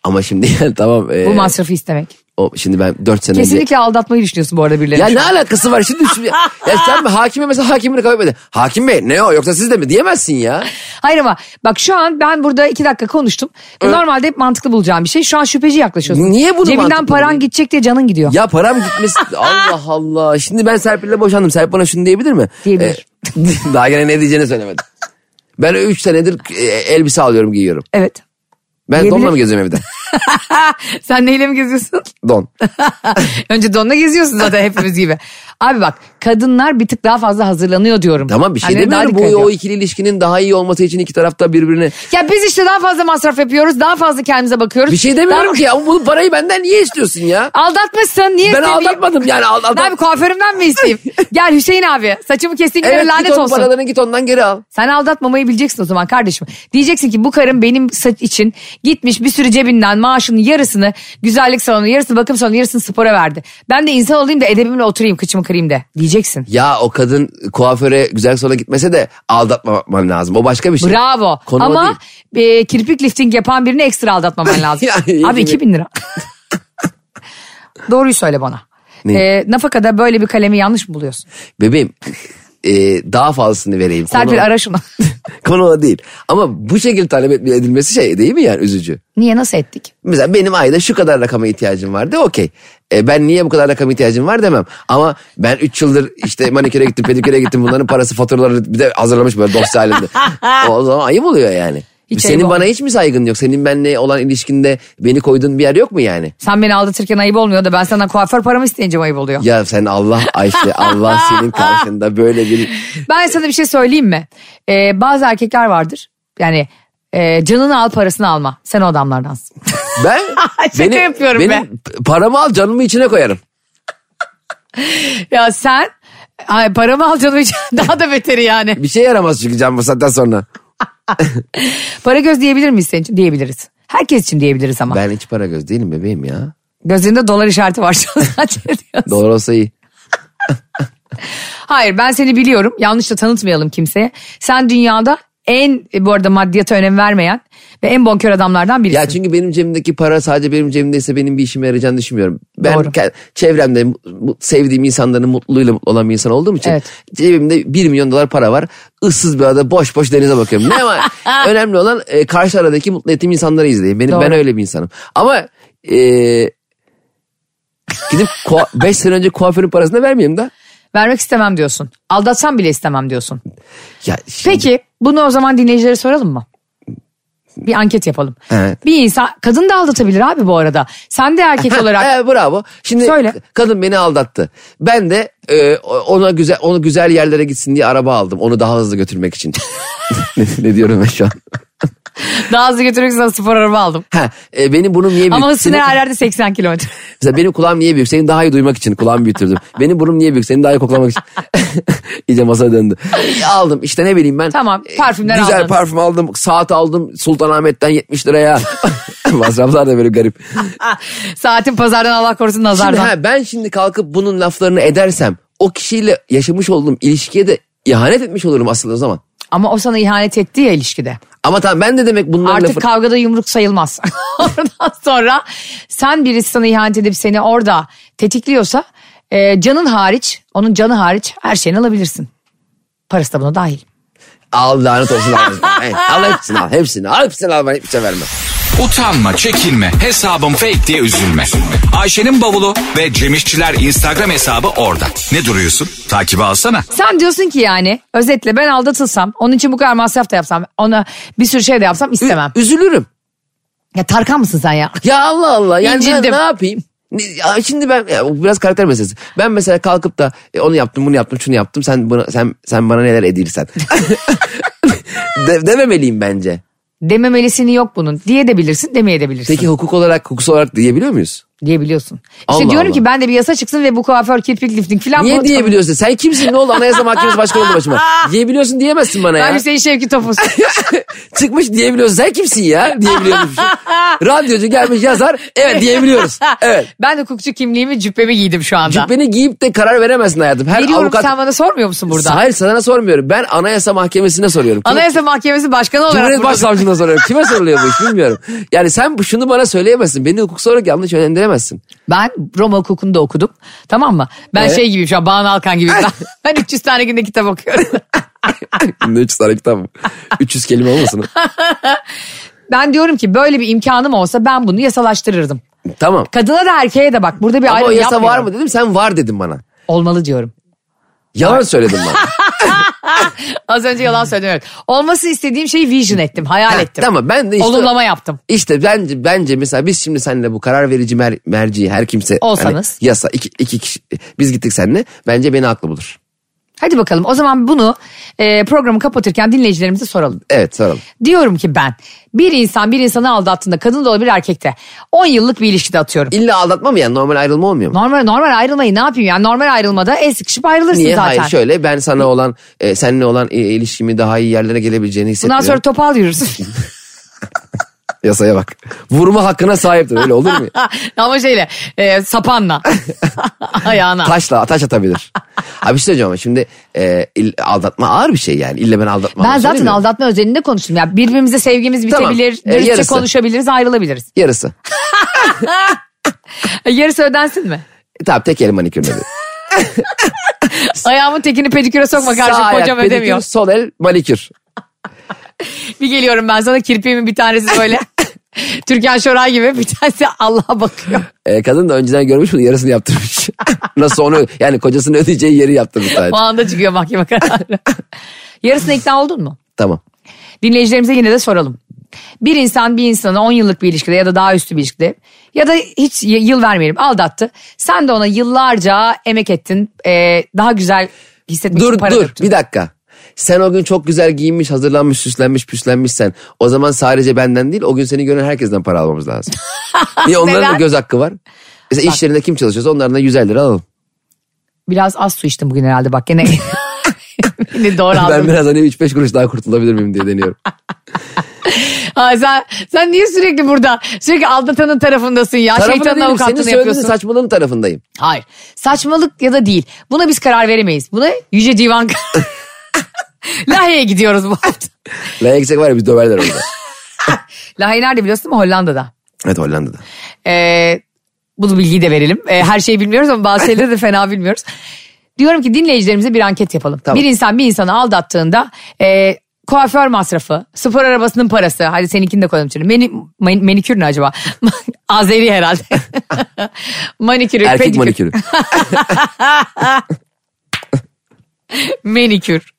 [SPEAKER 3] Ama şimdi yani tamam. e,
[SPEAKER 2] Bu masrafı istemek.
[SPEAKER 3] o, şimdi ben 4 sene önce.
[SPEAKER 2] Kesinlikle aldatmayı düşünüyorsun bu arada birileri.
[SPEAKER 3] Ya ne alakası var şimdi? şimdi ya sen bir hakime mesela hakimini kabul etmedin. Hakim bey ne o yoksa siz de mi diyemezsin ya.
[SPEAKER 2] Hayır ama bak şu an ben burada iki dakika konuştum. Normalde hep mantıklı bulacağım bir şey. Şu an şüpheci yaklaşıyorsun.
[SPEAKER 3] Niye bunu
[SPEAKER 2] Cebinden
[SPEAKER 3] mantıklı
[SPEAKER 2] paran
[SPEAKER 3] bulayım?
[SPEAKER 2] gidecek diye canın gidiyor.
[SPEAKER 3] Ya param gitmesi Allah Allah. Şimdi ben Serpil'le boşandım. Serpil bana şunu diyebilir mi?
[SPEAKER 2] Diyebilir.
[SPEAKER 3] Ee, daha gene ne diyeceğini söylemedim. Ben 3 senedir e, elbise alıyorum giyiyorum.
[SPEAKER 2] Evet.
[SPEAKER 3] Ben
[SPEAKER 2] Diyebilir.
[SPEAKER 3] donla mı geziyorum evde?
[SPEAKER 2] Sen neyle mi geziyorsun?
[SPEAKER 3] Don.
[SPEAKER 2] Önce donla geziyorsun zaten hepimiz gibi. Abi bak kadınlar bir tık daha fazla hazırlanıyor diyorum.
[SPEAKER 3] Tamam bir şey
[SPEAKER 2] Anneler daha
[SPEAKER 3] demiyorum. Bu
[SPEAKER 2] dikkat ediyor.
[SPEAKER 3] o ikili ilişkinin daha iyi olması için iki tarafta birbirine...
[SPEAKER 2] Ya biz işte daha fazla masraf yapıyoruz. Daha fazla kendimize bakıyoruz.
[SPEAKER 3] Bir şey demiyorum
[SPEAKER 2] Daha-
[SPEAKER 3] ki ama bunu parayı benden niye istiyorsun ya?
[SPEAKER 2] Aldatmışsın. Niye
[SPEAKER 3] Ben
[SPEAKER 2] istemeyeyim?
[SPEAKER 3] aldatmadım yani
[SPEAKER 2] Ne abi
[SPEAKER 3] aldatmadım.
[SPEAKER 2] kuaförümden mi isteyeyim? Gel Hüseyin abi saçımı keseyim evet,
[SPEAKER 3] Evet
[SPEAKER 2] lanet
[SPEAKER 3] git onun
[SPEAKER 2] olsun.
[SPEAKER 3] paralarını git ondan geri al.
[SPEAKER 2] Sen aldatmamayı bileceksin o zaman kardeşim. Diyeceksin ki bu karım benim saç için gitmiş bir sürü cebinden maaşının yarısını güzellik salonu, yarısını bakım salonu, yarısını spora verdi. Ben de insan olayım da edebimle oturayım, kıçımı kırayım de diyeceksin.
[SPEAKER 3] Ya o kadın kuaföre güzel sola gitmese de aldatmaman lazım. O başka bir şey.
[SPEAKER 2] Bravo.
[SPEAKER 3] Konu o
[SPEAKER 2] Ama
[SPEAKER 3] değil.
[SPEAKER 2] e, kirpik lifting yapan birini ekstra aldatmaman lazım.
[SPEAKER 3] Yani
[SPEAKER 2] Abi
[SPEAKER 3] iyi gibi.
[SPEAKER 2] 2000 lira. Doğruyu söyle bana.
[SPEAKER 3] Ne?
[SPEAKER 2] E, nafakada böyle bir kalemi yanlış mı buluyorsun?
[SPEAKER 3] Bebeğim e, daha fazlasını vereyim.
[SPEAKER 2] Serpil
[SPEAKER 3] konu,
[SPEAKER 2] ara şunu.
[SPEAKER 3] konu o değil. Ama bu şekilde talep etme- edilmesi şey değil mi yani üzücü?
[SPEAKER 2] Niye nasıl ettik?
[SPEAKER 3] Mesela benim ayda şu kadar rakama ihtiyacım vardı okey. E, ben niye bu kadar rakama ihtiyacım var demem. Ama ben 3 yıldır işte maniküre gittim pediküre gittim bunların parası faturaları bir de hazırlamış böyle dosya halinde. O zaman ayıp oluyor yani.
[SPEAKER 2] Hiç
[SPEAKER 3] Senin
[SPEAKER 2] ayıp
[SPEAKER 3] bana
[SPEAKER 2] olmaz.
[SPEAKER 3] hiç mi saygın yok? Senin benimle olan ilişkinde beni koyduğun bir yer yok mu yani?
[SPEAKER 2] Sen beni aldatırken ayıp olmuyor da ben sana kuaför paramı isteyince mi ayıp oluyor.
[SPEAKER 3] Ya sen Allah Ayşe Allah senin karşında böyle bir
[SPEAKER 2] Ben sana bir şey söyleyeyim mi? Ee, bazı erkekler vardır. Yani e, canını al parasını alma. Sen o adamlardansın.
[SPEAKER 3] Ben
[SPEAKER 2] Şaka yapıyorum
[SPEAKER 3] benim
[SPEAKER 2] be.
[SPEAKER 3] paramı al canımı içine koyarım.
[SPEAKER 2] ya sen ay, paramı al canım için daha da beteri yani.
[SPEAKER 3] Bir şey yaramaz çünkü can bu saatten sonra.
[SPEAKER 2] Para göz diyebilir miyiz senin için? Diyebiliriz. Herkes için diyebiliriz ama.
[SPEAKER 3] Ben hiç para göz değilim bebeğim ya.
[SPEAKER 2] Gözlerinde dolar işareti var şu an zaten.
[SPEAKER 3] Doğru olsa iyi.
[SPEAKER 2] Hayır ben seni biliyorum. Yanlış da tanıtmayalım kimseye. Sen dünyada en e, bu arada maddiyata önem vermeyen ve en bonkör adamlardan birisin.
[SPEAKER 3] Ya çünkü benim cebimdeki para sadece benim cebimdeyse benim bir işime yarayacağını düşünmüyorum. Ben
[SPEAKER 2] Doğru.
[SPEAKER 3] ke- çevremde mu- mu- sevdiğim insanların mutluluğuyla mutlu olan bir insan olduğum için
[SPEAKER 2] Evet.
[SPEAKER 3] cebimde 1 milyon dolar para var. Issız bir ada boş boş denize bakıyorum. Ne var? Önemli olan e, karşı aradaki mutlu ettiğim insanları izleyeyim. Benim,
[SPEAKER 2] Doğru.
[SPEAKER 3] ben öyle bir insanım. Ama e, gidip 5 sene önce kuaförün parasını vermeyeyim da.
[SPEAKER 2] Vermek istemem diyorsun. Aldatsam bile istemem diyorsun.
[SPEAKER 3] Ya şimdi-
[SPEAKER 2] Peki bunu o zaman dinleyicilere soralım mı? Bir anket yapalım.
[SPEAKER 3] Evet.
[SPEAKER 2] Bir insan kadın da aldatabilir abi bu arada. Sen de erkek olarak
[SPEAKER 3] Ee, bravo. Şimdi
[SPEAKER 2] Söyle.
[SPEAKER 3] kadın beni aldattı. Ben de e, ona güzel onu güzel yerlere gitsin diye araba aldım. Onu daha hızlı götürmek için. ne, ne diyorum ben şu an?
[SPEAKER 2] daha hızlı götürmek için sana spor araba aldım.
[SPEAKER 3] Ha, e, benim bunun niye büyük?
[SPEAKER 2] Ama hız
[SPEAKER 3] Senin-
[SPEAKER 2] sınırı her yerde 80 kilometre.
[SPEAKER 3] Mesela benim kulağım niye büyük? Seni daha iyi duymak için kulağımı büyütürdüm. benim burnum niye büyük? Seni daha iyi koklamak için. İyice masaya döndü. E, Aldım işte ne bileyim ben.
[SPEAKER 2] Tamam,
[SPEAKER 3] E,
[SPEAKER 2] parfümden
[SPEAKER 3] Güzel
[SPEAKER 2] aldın.
[SPEAKER 3] parfüm aldım. Saat aldım. Sultanahmet'ten 70 liraya. Masraflar da böyle garip.
[SPEAKER 2] Ah, Saatin pazardan Allah korusun
[SPEAKER 3] Şimdi
[SPEAKER 2] nazardan.
[SPEAKER 3] ha, ben şimdi kalkıp bunun laflarını edersem o kişiyle yaşamış olduğum ilişkiye de ihanet etmiş olurum aslında o zaman.
[SPEAKER 2] Ama o sana ihanet etti ya ilişkide.
[SPEAKER 3] Ama tamam ben de demek bunların
[SPEAKER 2] Artık
[SPEAKER 3] lafı...
[SPEAKER 2] kavgada yumruk sayılmaz. Oradan sonra sen birisi sana ihanet edip seni orada tetikliyorsa e, canın hariç, onun canı hariç her şeyini alabilirsin. Parası da buna dahil.
[SPEAKER 3] Al lanet olsun al. Hey, al hepsini al. Hepsini al. Hepsini al. Ben hiçbir şey vermem.
[SPEAKER 1] Utanma, çekinme, hesabım fake diye üzülme. Ayşe'nin bavulu ve Cemişçiler Instagram hesabı orada. Ne duruyorsun? Takibi alsana.
[SPEAKER 2] Sen diyorsun ki yani özetle ben aldatılsam onun için bu kadar masraf da yapsam ona bir sürü şey de yapsam istemem.
[SPEAKER 3] Üzülürüm.
[SPEAKER 2] Ya Tarkan mısın sen ya?
[SPEAKER 3] Ya Allah Allah. Yani ben
[SPEAKER 2] İncindim.
[SPEAKER 3] ne yapayım? Ne- ya şimdi ben ya bu biraz karakter meselesi. Ben mesela kalkıp da e, onu yaptım, bunu yaptım, şunu yaptım. Sen bana sen sen bana neler edilsen. de, dememeliyim bence.
[SPEAKER 2] Dememelisini yok bunun diye de bilirsin demeye de bilirsin.
[SPEAKER 3] Peki hukuk olarak, hukuksal olarak diyebiliyor muyuz?
[SPEAKER 2] diyebiliyorsun. İşte
[SPEAKER 3] Allah
[SPEAKER 2] diyorum
[SPEAKER 3] Allah.
[SPEAKER 2] ki ben de bir yasa çıksın ve bu kuaför kirpik lifting falan.
[SPEAKER 3] Niye
[SPEAKER 2] bunu-
[SPEAKER 3] diyebiliyorsun? Sen kimsin? Ne oldu? Anayasa Mahkemesi Başkanı oldu başıma. Diyebiliyorsun diyemezsin bana
[SPEAKER 2] Ben şey-
[SPEAKER 3] ya.
[SPEAKER 2] Hüseyin Şevki Topuz.
[SPEAKER 3] Çıkmış diyebiliyorsun. Sen kimsin ya? Diyebiliyormuş. Radyocu gelmiş yazar. Evet diyebiliyoruz. Evet.
[SPEAKER 2] ben de hukukçu kimliğimi cübbemi giydim şu anda.
[SPEAKER 3] Cübbeni giyip de karar veremezsin hayatım. Her
[SPEAKER 2] Veriyorum
[SPEAKER 3] avukat...
[SPEAKER 2] sen bana sormuyor musun burada?
[SPEAKER 3] Hayır sana sormuyorum. Ben Anayasa Mahkemesi'ne soruyorum. Kim-
[SPEAKER 2] Anayasa Mahkemesi Başkanı olarak
[SPEAKER 3] Cumhuriyet
[SPEAKER 2] burada-
[SPEAKER 3] Başsavcılığına soruyorum. Kime soruluyor bu iş bilmiyorum. Yani sen bu- şunu bana söyleyemezsin. Beni hukuk olarak yanlış yönlendiremezsin.
[SPEAKER 2] Ben Roma hukukunda okudum. Tamam mı? Ben
[SPEAKER 3] Evet.
[SPEAKER 2] şey gibiyim şu an Bağın Alkan gibiyim. Ben, ben 300 tane günde kitap okuyorum.
[SPEAKER 3] Bunda 3 tane kitap var. 300 kelime olmasın.
[SPEAKER 2] ben diyorum ki böyle bir imkanım olsa ben bunu yasalaştırırdım.
[SPEAKER 3] tamam.
[SPEAKER 2] Kadına da erkeğe de bak burada bir
[SPEAKER 3] Ama o
[SPEAKER 2] ayrım
[SPEAKER 3] yasa var
[SPEAKER 2] yapmıyorum.
[SPEAKER 3] mı dedim. Sen var dedim bana.
[SPEAKER 2] Olmalı diyorum.
[SPEAKER 3] Yalan söyledin bana.
[SPEAKER 2] Az önce yalan söylüyorum. Olması istediğim şeyi vision ettim, hayal
[SPEAKER 3] Ha,
[SPEAKER 2] ettim.
[SPEAKER 3] Tamam ben de işte...
[SPEAKER 2] Olumlama yaptım.
[SPEAKER 3] İşte bence bence mesela biz şimdi seninle bu karar verici mer- merci her kimse
[SPEAKER 2] Olsanız.
[SPEAKER 3] hani yasa iki, iki kişi biz gittik seninle bence beni haklı bulur.
[SPEAKER 2] Hadi bakalım o zaman bunu e, programı kapatırken dinleyicilerimize soralım.
[SPEAKER 3] Evet soralım.
[SPEAKER 2] Diyorum ki ben bir insan bir insanı aldattığında kadın da olabilir erkek de 10 yıllık bir ilişkide atıyorum.
[SPEAKER 3] İlla aldatma mı yani normal ayrılma olmuyor mu?
[SPEAKER 2] Normal normal ayrılmayı ne yapayım yani normal ayrılmada el sıkışıp ayrılırsın
[SPEAKER 3] Niye?
[SPEAKER 2] zaten.
[SPEAKER 3] Hayır şöyle ben sana olan e, seninle olan e, ilişkimi daha iyi yerlere gelebileceğini
[SPEAKER 2] Bundan
[SPEAKER 3] hissetmiyorum.
[SPEAKER 2] sonra topal yürürsün.
[SPEAKER 3] Yasaya bak. Vurma hakkına sahiptir öyle olur mu?
[SPEAKER 2] Ama şeyle e, sapanla ayağına.
[SPEAKER 3] Taşla taş atabilir. Abi bir şey söyleyeceğim ama şimdi e, il- aldatma ağır bir şey yani. İlle ben aldatma.
[SPEAKER 2] ben zaten aldatma özelinde konuştum. Ya birbirimize sevgimiz
[SPEAKER 3] Tamam.
[SPEAKER 2] bitebilir,
[SPEAKER 3] E,
[SPEAKER 2] dürüstçe
[SPEAKER 3] yarısı.
[SPEAKER 2] konuşabiliriz, ayrılabiliriz.
[SPEAKER 3] Yarısı.
[SPEAKER 2] E, Yarısı ödensin mi?
[SPEAKER 3] E, tamam tek el manikürle. de.
[SPEAKER 2] Ayağımın tekini pediküre sokma karşı
[SPEAKER 3] Sağ ayak
[SPEAKER 2] kocam
[SPEAKER 3] pedikür,
[SPEAKER 2] ödemiyor.
[SPEAKER 3] Sol el manikür.
[SPEAKER 2] Bir geliyorum ben sana kirpiğimin bir tanesi böyle. Türkan Şoray gibi bir tanesi Allah'a bakıyor.
[SPEAKER 3] E, kadın da önceden görmüş bunu yarısını yaptırmış. Nasıl onu yani kocasının ödeyeceği yeri yaptırmış
[SPEAKER 2] O
[SPEAKER 3] sadece.
[SPEAKER 2] anda çıkıyor mahkeme kararı. Yarısına ikna oldun mu?
[SPEAKER 3] tamam.
[SPEAKER 2] Dinleyicilerimize yine de soralım. Bir insan bir insana 10 yıllık bir ilişkide ya da daha üstü bir ilişkide ya da hiç y- yıl vermeyelim aldattı. Sen de ona yıllarca emek ettin. Ee, daha güzel hissetmek için
[SPEAKER 3] Dur
[SPEAKER 2] para
[SPEAKER 3] dur
[SPEAKER 2] döktün.
[SPEAKER 3] bir dakika. Sen o gün çok güzel giyinmiş, hazırlanmış, süslenmiş, püslenmişsen o zaman sadece benden değil o gün seni gören herkesten para almamız lazım. Niye onların da
[SPEAKER 2] Neden?
[SPEAKER 3] göz hakkı var? Mesela iş yerinde kim çalışıyorsa onlardan da 150 lira alalım.
[SPEAKER 2] Biraz az su içtim bugün herhalde bak gene. Yine doğru
[SPEAKER 3] Ben
[SPEAKER 2] aldım.
[SPEAKER 3] biraz hani 3-5 kuruş daha kurtulabilir miyim diye deniyorum.
[SPEAKER 2] Ha, sen, sen niye sürekli burada sürekli aldatanın tarafındasın ya şeytanın
[SPEAKER 3] Tarafında değilim. Senin
[SPEAKER 2] avukatlığını
[SPEAKER 3] söylediğin
[SPEAKER 2] yapıyorsun.
[SPEAKER 3] saçmalığın tarafındayım.
[SPEAKER 2] Hayır. Saçmalık ya da değil. Buna biz karar veremeyiz. Buna Yüce Divan Lahey'e gidiyoruz bu hafta.
[SPEAKER 3] La eksik var ya biz döverler orada.
[SPEAKER 2] Lahey nerede biliyorsun değil mi? Hollanda'da.
[SPEAKER 3] evet Hollanda'da.
[SPEAKER 2] Ee, bunu bilgiyi de verelim. Ee, her şeyi bilmiyoruz ama bazı şeyleri de fena bilmiyoruz. Diyorum ki dinleyicilerimize bir anket yapalım.
[SPEAKER 3] Tamam.
[SPEAKER 2] Bir insan bir insanı aldattığında e, kuaför masrafı, spor arabasının parası. Hadi seninkini de koyalım içine. Meni, men- manikür ne acaba? Azeri herhalde. manikürü,
[SPEAKER 3] Erkek
[SPEAKER 2] pedikür.
[SPEAKER 3] manikürü.
[SPEAKER 2] Menikür.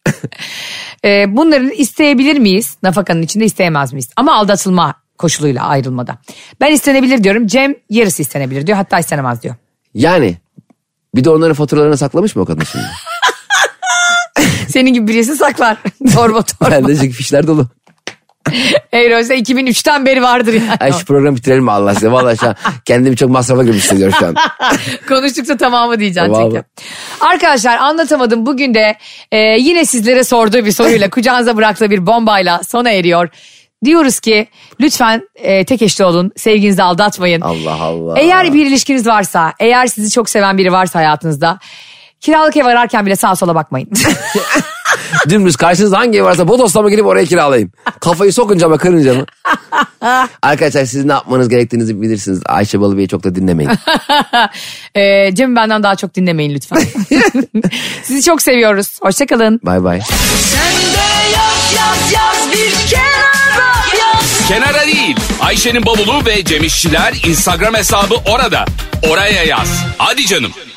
[SPEAKER 2] Ee, bunların isteyebilir miyiz? Nafakanın içinde isteyemez miyiz? Ama aldatılma koşuluyla ayrılmada. Ben istenebilir diyorum. Cem yarısı istenebilir diyor. Hatta istenemez diyor.
[SPEAKER 3] Yani bir de onların faturalarını saklamış mı o kadın şimdi?
[SPEAKER 2] Senin gibi birisi saklar. torba torba.
[SPEAKER 3] Bendecik fişler dolu.
[SPEAKER 2] Euro'sa 2003'ten beri vardır yani.
[SPEAKER 3] Ay şu programı bitirelim mi Allah size? Vallahi şu an kendimi çok masrafa gibi hissediyorum şu an.
[SPEAKER 2] Konuştukça tamamı diyeceksin
[SPEAKER 3] Tamamı.
[SPEAKER 2] çünkü. Arkadaşlar anlatamadım bugün de e, yine sizlere sorduğu bir soruyla kucağınıza bıraktığı bir bombayla sona eriyor. Diyoruz ki lütfen e, tek eşli olun sevginizi aldatmayın.
[SPEAKER 3] Allah Allah.
[SPEAKER 2] Eğer bir ilişkiniz varsa eğer sizi çok seven biri varsa hayatınızda kiralık ev ararken bile sağa sola bakmayın.
[SPEAKER 3] Dümdüz karşınızda hangi ev varsa Bodos'ta mı girip oraya kiralayayım? Kafayı sokunca mı kırınca mı? Arkadaşlar siz ne yapmanız gerektiğinizi bilirsiniz. Ayşe Balıbey'i çok da dinlemeyin.
[SPEAKER 2] e, Cem'i benden daha çok dinlemeyin lütfen. sizi çok seviyoruz. Hoşçakalın.
[SPEAKER 3] Bay bay.
[SPEAKER 4] Kenara değil. Ayşe'nin bavulu ve Cemişçiler Instagram hesabı orada. Oraya yaz. Hadi canım.